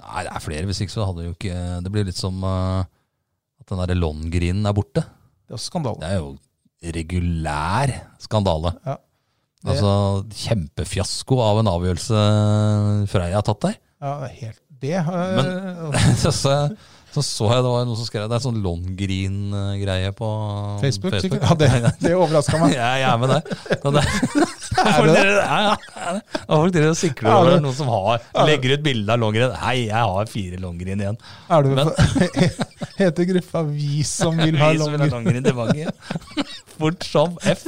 Speaker 2: Nei, det er flere. Hvis ikke så hadde det jo ikke Det blir litt som eh, at den derre Longyearbyen er borte.
Speaker 1: Det er også skandale.
Speaker 2: Det er jo regulær skandale.
Speaker 1: Ja. Det-
Speaker 2: Altså kjempefiasko av en avgjørelse Freia har tatt der. (laughs)
Speaker 1: Ja, det er helt det. eh, har (laughs) jeg-
Speaker 2: så, så, så så jeg det var noen som skrev Det er sånn Longyearbyen-greie på
Speaker 1: Facebook, sikkert. Ja, det,
Speaker 2: (laughs)
Speaker 1: det overraska meg.
Speaker 2: Ja, jeg er med deg. Men det,
Speaker 1: (laughs) Er det det?
Speaker 2: ja, ja. Det er Folk driver og sikler
Speaker 1: Er
Speaker 2: over
Speaker 1: det-
Speaker 2: det. noen som har,
Speaker 1: er det-
Speaker 2: legger ut bilde av longrenn. Hei, jeg har fire longrenn igjen.
Speaker 1: Er du,
Speaker 2: Men-
Speaker 1: (laughs) heter gruppa Vi
Speaker 2: (laughs)
Speaker 1: som vil ha
Speaker 2: Vi som vil ha
Speaker 1: longer?
Speaker 2: longrenn
Speaker 1: (laughs)
Speaker 2: tilbake. Fort som F.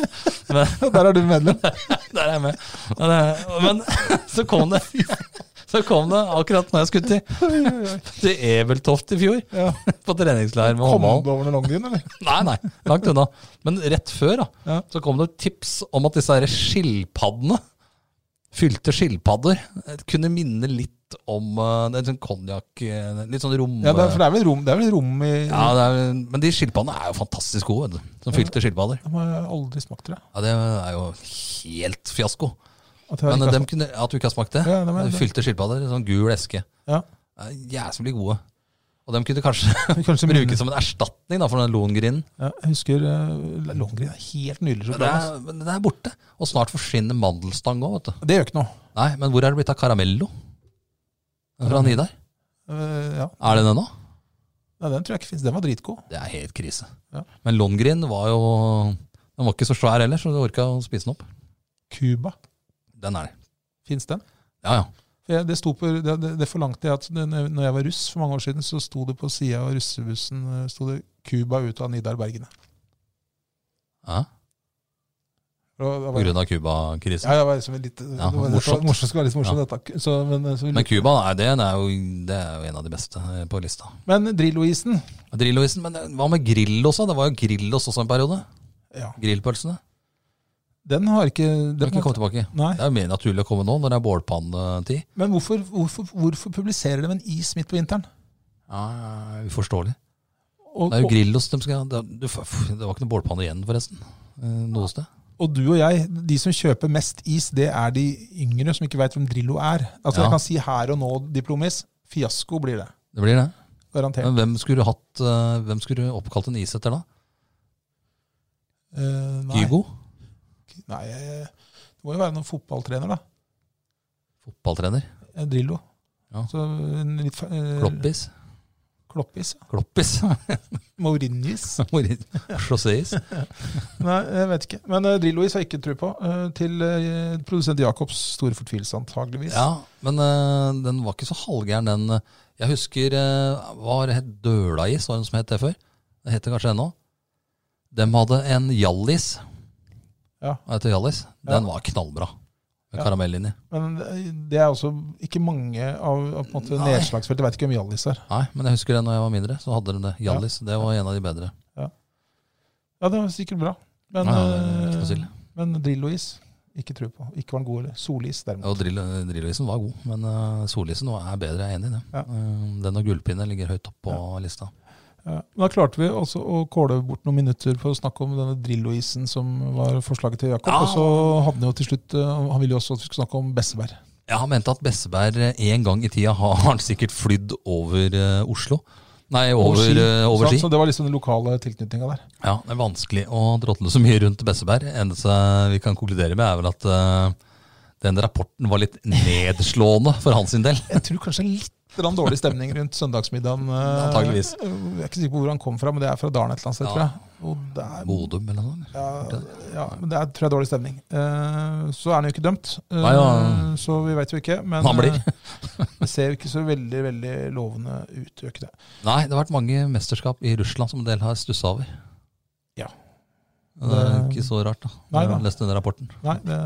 Speaker 2: Men
Speaker 1: Der er du medlem. (laughs)
Speaker 2: der er jeg med. Men, eh, men (laughs) så kom det (laughs) Så kom det akkurat når jeg skulle til,
Speaker 1: Oi, oi, oi.
Speaker 2: til Ebeltoft i fjor.
Speaker 1: Ja.
Speaker 2: På treningsleir med
Speaker 1: Kom
Speaker 2: håndballen.
Speaker 1: du over noen longryn, eller?
Speaker 2: Nei, nei, langt unna. Men rett før da,
Speaker 1: Ja.
Speaker 2: så kom det et tips om at disse her skilpaddene, fylte skilpadder, eh, kunne minne litt om eh, det er en sånn konjakk, eh, litt sånn rom...
Speaker 1: Ja, det er, for det er vel rom, det er vel rom i
Speaker 2: Ja, det er, men de skilpaddene er jo fantastisk gode, vet du, som fylte skilpadder.
Speaker 1: De har jeg aldri smakt, tror jeg.
Speaker 2: Ja, det er jo helt fiasko.
Speaker 1: At jeg
Speaker 2: Men eh,
Speaker 1: ikke har
Speaker 2: dem
Speaker 1: smakt.
Speaker 2: kunne, at du ikke har smakt det,
Speaker 1: Ja, dem er-
Speaker 2: fylte skilpadder, sånn gul eske,
Speaker 1: ja.
Speaker 2: er jævlig gode. Og dem kunne kanskje (laughs)
Speaker 1: Men Kanskje
Speaker 2: brukes
Speaker 1: brukes.
Speaker 2: som en erstatning da, for den longrinnen.
Speaker 1: Ja, jeg husker uh, Longyearbyen er helt nydelig
Speaker 2: Men Det
Speaker 1: sjokolade. altså.
Speaker 2: er, men det er borte, og snart forsvinner mandelstang også, vet du.
Speaker 1: Det gjør ikke noe.
Speaker 2: Nei, men hvor er det blitt av Caramello? Den Fra Nidar?
Speaker 1: Eh, ja.
Speaker 2: Er det den nå?
Speaker 1: Nei, den tror jeg ikke fins. Den var dritgod.
Speaker 2: Det er helt krise.
Speaker 1: Ja.
Speaker 2: Men Longrin var jo Den var ikke så svær heller, så du orka å spise den opp.
Speaker 1: Cuba.
Speaker 2: Den er det.
Speaker 1: Fins den?
Speaker 2: Ja, ja.
Speaker 1: Jeg, det, sto på, det, det, det forlangte jeg at det- når når jeg var russ for mange år siden, så sto det på sida av russebussen eh, sto det 'Cuba ut av Nidar Bergene'.
Speaker 2: ja.
Speaker 1: Og da var-
Speaker 2: På grunn av Cuba-krisen.
Speaker 1: Ja, jeg var liksom litt,
Speaker 2: Ja,
Speaker 1: det var
Speaker 2: morsomt.
Speaker 1: morsomt. morsomt skulle være litt morsomt, dette. Så, men, eh, så,
Speaker 2: Men Cuba er det, det er, jo, det er jo en av de beste eh, på lista.
Speaker 1: men Drillo-isen
Speaker 2: Drilloisen, men eh, hva med Grillos? da? Det var jo Grillos også en periode.
Speaker 1: ja,
Speaker 2: Grillpølsene.
Speaker 1: Den har ikke,
Speaker 2: Den
Speaker 1: den
Speaker 2: kan ikke komme tilbake.
Speaker 1: Nei.
Speaker 2: Det er jo mer naturlig å komme nå, når det er bålpannetid.
Speaker 1: Men hvorfor, hvorfor, hvorfor publiserer de en is midt på vinteren?
Speaker 2: Ja, ja, Uforståelig.
Speaker 1: Og,
Speaker 2: Det er jo
Speaker 1: og,
Speaker 2: Grillos de skal det, du, f- det var ikke noe bålpanne igjen, forresten. eh, Noe sted.
Speaker 1: og du og jeg, de som kjøper mest is, det er de yngre som ikke veit hvem Drillo er. Altså
Speaker 2: Ja.
Speaker 1: Jeg kan si her og nå, diplomis, fiasko blir det.
Speaker 2: Det blir det.
Speaker 1: Garantert.
Speaker 2: Men hvem skulle du hatt eh, Hvem skulle du oppkalt en is etter da?
Speaker 1: Eh, nei,
Speaker 2: Kygo?
Speaker 1: nei, eh, det må jo være noen fotballtrener, da.
Speaker 2: Fotballtrener?
Speaker 1: Eh, Drillo.
Speaker 2: Ja.
Speaker 1: Så en litt fa- eh,
Speaker 2: Kloppis?
Speaker 1: Kloppis. ja.
Speaker 2: Kloppis? (laughs)
Speaker 1: Mourinho's.
Speaker 2: Chausséis?
Speaker 1: (laughs) Nei, jeg vet ikke. Men eh, Drillo-is har jeg ikke tro på. eh, til eh, produsent Jacobs store fortvilelse, antageligvis.
Speaker 2: Ja, men eh, den var ikke så halvgæren, den. Jeg husker eh, Hva var det het Dølais, var det noe som het det før? Det heter kanskje ennå. Dem hadde en Hjallis.
Speaker 1: Ja.
Speaker 2: Hva heter Hjallis? Den var knallbra. Med
Speaker 1: Ja.
Speaker 2: karamell inni.
Speaker 1: Men eh, det er også ikke mange av, av på en måte
Speaker 2: Nei.
Speaker 1: nedslagsfelt. Jeg veit ikke hvem Hjallis er.
Speaker 2: Nei, men jeg husker det når jeg var mindre. Så hadde de det. Hjallis. Det var en av de bedre.
Speaker 1: Ja, det var sikkert bra. Men,
Speaker 2: Nei, det er ikke noe
Speaker 1: eh,
Speaker 2: sild.
Speaker 1: men Drillo-is, ikke tro på. Ikke var den god heller. Solis, derimot.
Speaker 2: Og drill, Drilloisen var god, men eh, solisen var- er bedre. Jeg er enig i det.
Speaker 1: Ja.
Speaker 2: Eh, den og gullpinne ligger høyt opp på lista.
Speaker 1: Ja. Men da klarte vi også å kåle bort noen minutter på å snakke om denne Drillo-isen som var forslaget til Jakob.
Speaker 2: Ja.
Speaker 1: Og så hadde han jo til slutt eh, Han ville jo også at vi skulle snakke om Besseberg.
Speaker 2: Ja, han mente at Besseberg eh, en gang i tida (laughs) har han sikkert flydd over eh, Oslo. Nei, over,
Speaker 1: Ski.
Speaker 2: eh, over
Speaker 1: Så-
Speaker 2: ski.
Speaker 1: Så det var liksom den lokale tilknytninga der.
Speaker 2: Ja, det er vanskelig å drotle så mye rundt Besseberg. Eneste vi kan konkludere med, er vel at eh, den rapporten var litt nedslående for hans sin del.
Speaker 1: Jeg tror kanskje litt grann dårlig stemning rundt søndagsmiddagen. eh,
Speaker 2: Antageligvis.
Speaker 1: Jeg er ikke sikker på hvor han kom fra, men det er fra Dalen et eller annet sted,
Speaker 2: Ja.
Speaker 1: tror jeg. Og det er,
Speaker 2: Modum eller noe sånt.
Speaker 1: ja, ja, men det er, tror jeg er dårlig stemning. Eh, så er han jo ikke dømt, eh,
Speaker 2: Nei, ja.
Speaker 1: så vi veit jo ikke. Men
Speaker 2: Han blir.
Speaker 1: eh, det ser jo ikke så veldig veldig lovende ut, gjør ikke det.
Speaker 2: Nei, det har vært mange mesterskap i Russland som en del har stussa over.
Speaker 1: Ja.
Speaker 2: Det er ikke så rart, da.
Speaker 1: Nei
Speaker 2: når
Speaker 1: da.
Speaker 2: du har lest denne rapporten.
Speaker 1: Nei, det,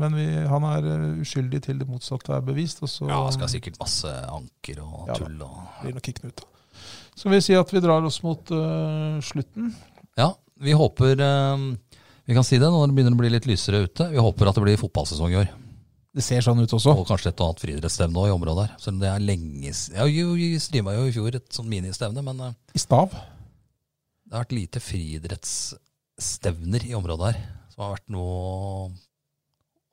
Speaker 1: men vi, han er eh, uskyldig til det motsatte er bevist, og så
Speaker 2: Ja, skal sikkert masse anker og
Speaker 1: Ja da.
Speaker 2: tull og
Speaker 1: blir nok ikke Knut. da. Skal vi si at vi drar oss mot eh, slutten?
Speaker 2: Ja, vi håper eh, Vi kan si det når det begynner å bli litt lysere ute. Vi håper at det blir fotballsesong i år.
Speaker 1: Det ser sånn ut også.
Speaker 2: Og kanskje et og annet friidrettsstevne også i området her. Selv om det er lenge s- ja, jo, Vi streama jo i fjor et sånn ministevne, men eh,
Speaker 1: I stav.
Speaker 2: det har vært lite friidrettsstevner i området her. Som har vært noe å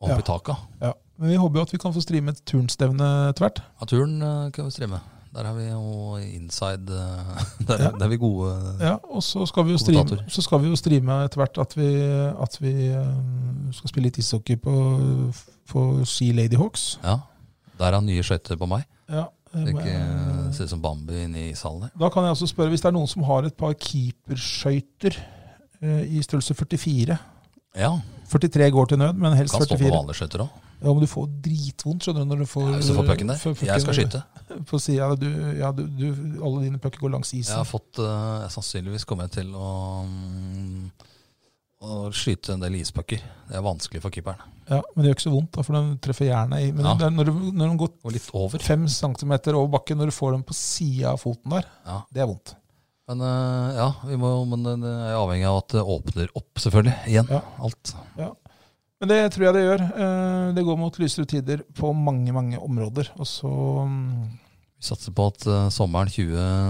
Speaker 2: hoppe
Speaker 1: Ja.
Speaker 2: i taket av.
Speaker 1: Ja. Men vi håper jo at vi kan få streame et turnstevne etter hvert.
Speaker 2: Ja, turen eh, kan vi streame. Der er vi jo inside eh, (laughs) Der,
Speaker 1: Ja.
Speaker 2: der er vi gode.
Speaker 1: Ja, og så skal vi jo streame,
Speaker 2: Kommentator.
Speaker 1: så skal vi jo streame etter hvert at vi, at vi eh, skal spille litt ishockey på, på Ski Ladyhawks.
Speaker 2: Ja. Der er nye skøyter på meg.
Speaker 1: Ja, eh,
Speaker 2: Det
Speaker 1: må
Speaker 2: ikke
Speaker 1: jeg-
Speaker 2: ser ut som Bambi inne i salen der.
Speaker 1: da kan jeg også spørre, hvis det er noen som har et par keeperskøyter eh, i størrelse 44
Speaker 2: Ja,
Speaker 1: 43 går til nød, men helst
Speaker 2: kan stå på
Speaker 1: 44.
Speaker 2: vanlige skøyter òg.
Speaker 1: Ja, men du får dritvondt, skjønner du, når du får
Speaker 2: Hvis du får pucken der.
Speaker 1: får pucken
Speaker 2: Jeg skal skyte.
Speaker 1: På siden, du, ja, du, du, alle dine pucker går langs
Speaker 2: Jeg
Speaker 1: isen.
Speaker 2: har fått eh, Sannsynligvis kommer jeg til å mm, å skyte en del ispucker. Det er vanskelig for keeperen.
Speaker 1: Ja, men det gjør ikke så vondt, da, for den treffer jernet i. Men
Speaker 2: Ja.
Speaker 1: det er når, du, når den går
Speaker 2: Og litt over.
Speaker 1: fem centimeter over bakken, når du får den på sida av foten der,
Speaker 2: Ja.
Speaker 1: det er vondt.
Speaker 2: Men eh, ja, vi må, men det er avhengig av at det åpner opp, selvfølgelig. Igjen.
Speaker 1: Ja.
Speaker 2: Alt.
Speaker 1: Men det tror jeg det gjør. Eh, Det går mot lysere tider på mange, mange områder. Og så mm,
Speaker 2: Vi satser på at eh, sommeren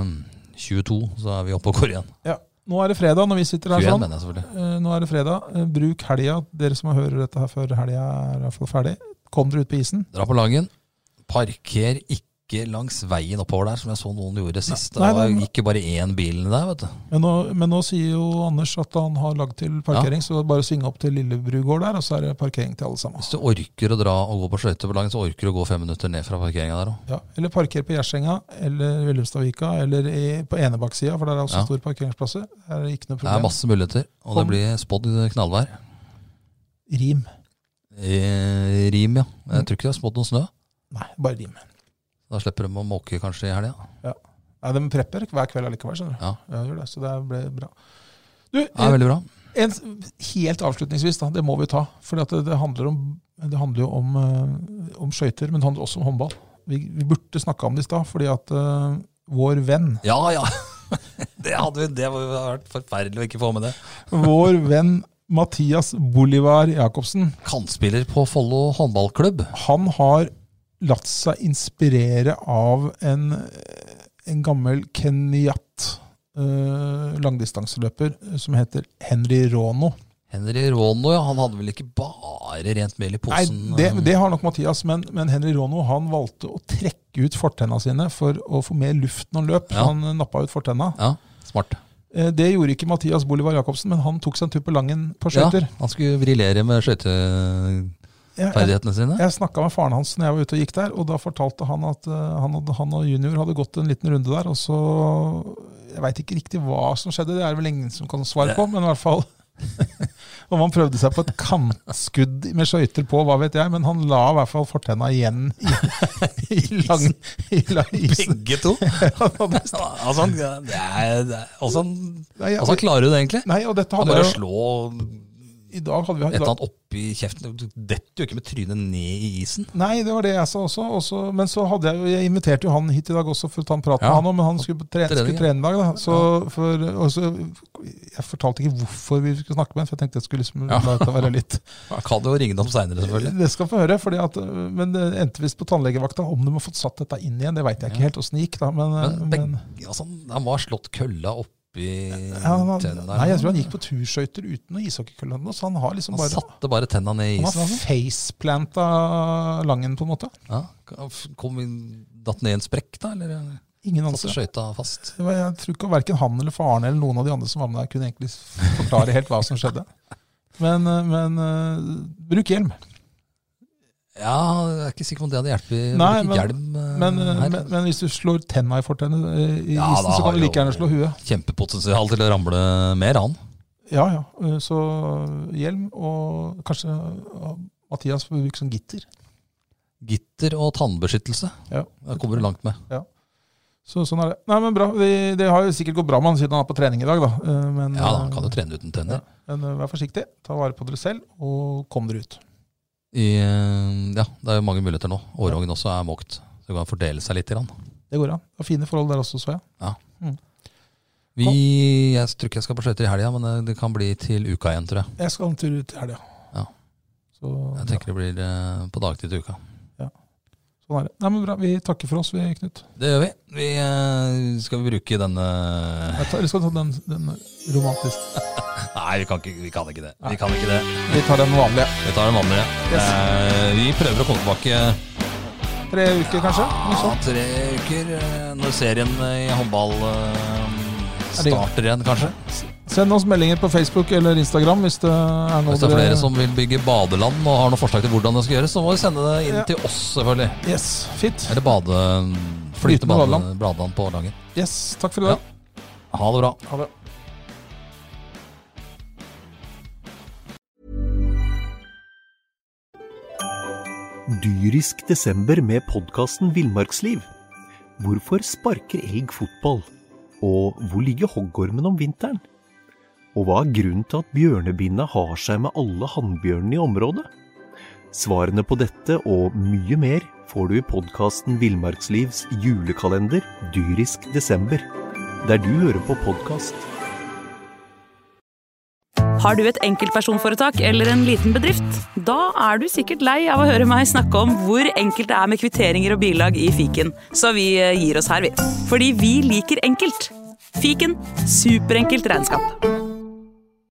Speaker 2: 2022 så er vi oppe og går igjen.
Speaker 1: Ja. Nå er det fredag når vi sitter her
Speaker 2: 21
Speaker 1: sånn.
Speaker 2: mener jeg selvfølgelig.
Speaker 1: Eh, Nå er det fredag. Eh, Bruk helga. Dere som hører dette her før helga er i hvert fall ferdig. Kom dere ut på isen.
Speaker 2: Dra på Langen. Parker ikke langs veien oppover der, som jeg så noen gjorde sist. Det
Speaker 1: Nei,
Speaker 2: var-
Speaker 1: det-
Speaker 2: gikk jo bare én bil der, vet du.
Speaker 1: Men nå, men nå sier jo Anders at han har lagd til parkering, så bare sving opp til Lillebru gård der, og så er det parkering til alle sammen.
Speaker 2: Hvis du orker å dra og gå på skøyter på Langen, så orker du å gå fem minutter ned fra parkeringa der òg.
Speaker 1: Ja, eller parker på Gjersenga eller Vellumstadvika eller i, på Enebakksida, for der er også
Speaker 2: Ja.
Speaker 1: store parkeringsplasser. Der er det ikke noe
Speaker 2: Det er
Speaker 1: problem.
Speaker 2: masse muligheter, og det
Speaker 1: Kom.
Speaker 2: blir spådd knallvær.
Speaker 1: Rim. Mm.
Speaker 2: I Rim, ja. Jeg tror ikke det er spådd noe snø.
Speaker 1: Nei, bare rim.
Speaker 2: Da slipper de å måke kanskje i helga.
Speaker 1: Nei, De prepper hver kveld allikevel, skjønner du.
Speaker 2: Ja.
Speaker 1: Ja, gjør det, så det ble bra. Du,
Speaker 2: Det er veldig bra.
Speaker 1: En, helt avslutningsvis, da, det må vi ta. For det, det, handler om- det handler jo om, eh, om skøyter, men det handler også om håndball. Vi, vi burde snakka om det i stad, fordi at eh, vår
Speaker 2: (laughs)
Speaker 1: venn
Speaker 2: Ja, ja. Det hadde vi, det hadde vært forferdelig å ikke få med det.
Speaker 1: Vår venn Mathias Bolivar Jacobsen,
Speaker 2: Kantspiller på Follo håndballklubb.
Speaker 1: han har latt seg inspirere av en, en gammel kenyat eh, langdistanseløper eh, som heter Henry Rono.
Speaker 2: Henry Rono, ja, han hadde vel ikke bare rent mel
Speaker 1: Nei,
Speaker 2: i posen?
Speaker 1: det,
Speaker 2: eh,
Speaker 1: det har nok Mathias, men, men Henry Rono han valgte å trekke ut fortenna sine for å få mer luft når han løp.
Speaker 2: Ja.
Speaker 1: Han eh, nappa ut fortenna.
Speaker 2: Ja, smart.
Speaker 1: Eh, Det gjorde ikke Mathias Bolivar Jacobsen, men han tok seg en tur på Langen på
Speaker 2: Ja,
Speaker 1: skøyter.
Speaker 2: han skulle briljere med skøyteferdighetene
Speaker 1: jeg
Speaker 2: sine.
Speaker 1: jeg snakka med faren hans når jeg var ute og gikk der, og da fortalte han at eh, han, hadde, han og junior hadde gått en liten runde der, og så Jeg veit ikke riktig hva som skjedde, det er det vel ingen som kan svare på, men i hvert fall (laughs) Om han prøvde seg på et kantskudd med skøyter på, hva vet jeg, men han la i hvert fall fortenna igjen i, i (laughs) lang i lang isen.
Speaker 2: Begge (laughs) to! altså, han, det er, det er, altså, han,
Speaker 1: Nei,
Speaker 2: altså, han klarer jo det, egentlig.
Speaker 1: nei, og dette
Speaker 2: Han
Speaker 1: hadde
Speaker 2: bare
Speaker 1: jeg jo
Speaker 2: slår
Speaker 1: I dag hadde vi
Speaker 2: et eller annet oppi kjeften. Du detter jo ikke med trynet ned i isen.
Speaker 1: Nei, det var det jeg sa også. også men så hadde jeg, jo- jeg inviterte jo han hit i dag også for å ta en prat med
Speaker 2: Ja.
Speaker 1: han òg, men han skulle, på tre,
Speaker 2: Trening,
Speaker 1: skulle
Speaker 2: ja.
Speaker 1: trene i dag. da. Så for, og så, jeg fortalte ikke hvorfor vi skulle snakke med han, for jeg tenkte jeg skulle liksom
Speaker 2: Ja.
Speaker 1: la det være litt
Speaker 2: Han kan jo ringe dem seinere, (laughs) selvfølgelig.
Speaker 1: Det skal få høre, fordi at, men det endte visst på tannlegevakta. Om de har fått satt dette inn igjen, det veit jeg ikke helt åssen det gikk, da. Men, eh,
Speaker 2: Men,
Speaker 1: men,
Speaker 2: begge, altså, han- han var slått kølla oppi
Speaker 1: ja, han,
Speaker 2: tennene der.
Speaker 1: nei, jeg tror han gikk på turskøyter uten noe ishockeykølle, eller noe, så han har liksom
Speaker 2: han
Speaker 1: bare
Speaker 2: satte bare tenna ned i
Speaker 1: Han
Speaker 2: isen.
Speaker 1: har
Speaker 2: Altså.
Speaker 1: faceplanta Langen, på en måte.
Speaker 2: Ja, han f- kom inn- datt ned i en sprekk, da? Eller
Speaker 1: Ingen
Speaker 2: satte
Speaker 1: anelse.
Speaker 2: skøyta fast?
Speaker 1: Det var, jeg tror ikke verken han eller faren eller noen av de andre som var med der, kunne egentlig forklare helt hva som skjedde. Men, eh, men eh, bruk hjelm.
Speaker 2: Ja, jeg er ikke sikker på om det hadde hjulpet. med
Speaker 1: Nei,
Speaker 2: litt
Speaker 1: men-
Speaker 2: hjelm, eh,
Speaker 1: Men, eh,
Speaker 2: her.
Speaker 1: men, men hvis du slår tenna i fortennet eh, i
Speaker 2: Ja,
Speaker 1: isen,
Speaker 2: da
Speaker 1: så
Speaker 2: har
Speaker 1: kan du like
Speaker 2: jo-
Speaker 1: gjerne slå huet.
Speaker 2: Kjempepotensial til å ramle mer, han.
Speaker 1: Ja, ja. Eh, Så hjelm og kanskje eh, Mathias får bruke sånn gitter.
Speaker 2: Gitter og tannbeskyttelse.
Speaker 1: Ja.
Speaker 2: Det kommer du langt med.
Speaker 1: Så sånn er det. Nei, men bra. Det, det har jo sikkert gått bra med han siden han er på trening i dag, da. Eh, Men,
Speaker 2: Ja, da, han kan jo trene uten tenner.
Speaker 1: men eh, vær forsiktig. Ta vare på dere selv, og kom dere ut.
Speaker 2: I, eh, ja, det er jo mange muligheter nå. Årungen også er måkt. Så det kan fordele seg litt. Grann.
Speaker 1: Det går an. Det var fine forhold der også, så jeg.
Speaker 2: Vi, jeg tror ikke jeg skal på skøyter i helga, men eh, det kan bli til uka igjen, tror jeg.
Speaker 1: Jeg skal en tur ut i helga.
Speaker 2: Ja.
Speaker 1: Så,
Speaker 2: Jeg tenker det blir eh, på dagtid til uka.
Speaker 1: Sånn er det. Nei, men bra. Vi takker for oss, vi, Knut.
Speaker 2: Det gjør vi. vi eh, skal vi bruke denne
Speaker 1: Jeg tar, skal ta den, den romantisk.
Speaker 2: Nei, vi kan ikke, vi kan ikke det. Vi kan ikke det.
Speaker 1: Vi tar den vanlige.
Speaker 2: Vi tar den vanlige.
Speaker 1: Yes.
Speaker 2: Eh, vi prøver å komme tilbake
Speaker 1: Tre uker, kanskje? Noe
Speaker 2: Ja,
Speaker 1: sånt.
Speaker 2: tre uker eh, når serien eh, i håndball eh, starter igjen, kanskje.
Speaker 1: Send oss meldinger på Facebook eller Instagram hvis det er noe
Speaker 2: Hvis det er flere sånn. som vil bygge badeland og har noen forslag til hvordan det skal gjøres, så må de sende det inn
Speaker 1: Ja.
Speaker 2: til oss, selvfølgelig.
Speaker 1: Yes. Fint.
Speaker 2: Eller bade, flyte
Speaker 1: Flytende
Speaker 2: bade,
Speaker 1: badeland.
Speaker 2: badeland på Langen.
Speaker 1: Yes. Takk for i dag.
Speaker 2: Ha det bra.
Speaker 1: Ha det.
Speaker 3: Dyrisk desember med podkasten Villmarksliv. Hvorfor sparker elg fotball? Og hvor ligger hoggormen om vinteren? Og hva er grunnen til at bjørnebinna har seg med alle hannbjørnene i området? Svarene på dette og mye mer får du i podkasten Villmarkslivs julekalender dyrisk desember, der du hører på podkast.
Speaker 4: Har du et enkeltpersonforetak eller en liten bedrift? Da er du sikkert lei av å høre meg snakke om hvor enkelt det er med kvitteringer og bilag i fiken, så eh, vi gir oss her, vi. Fordi vi liker enkelt. Fiken superenkelt regnskap.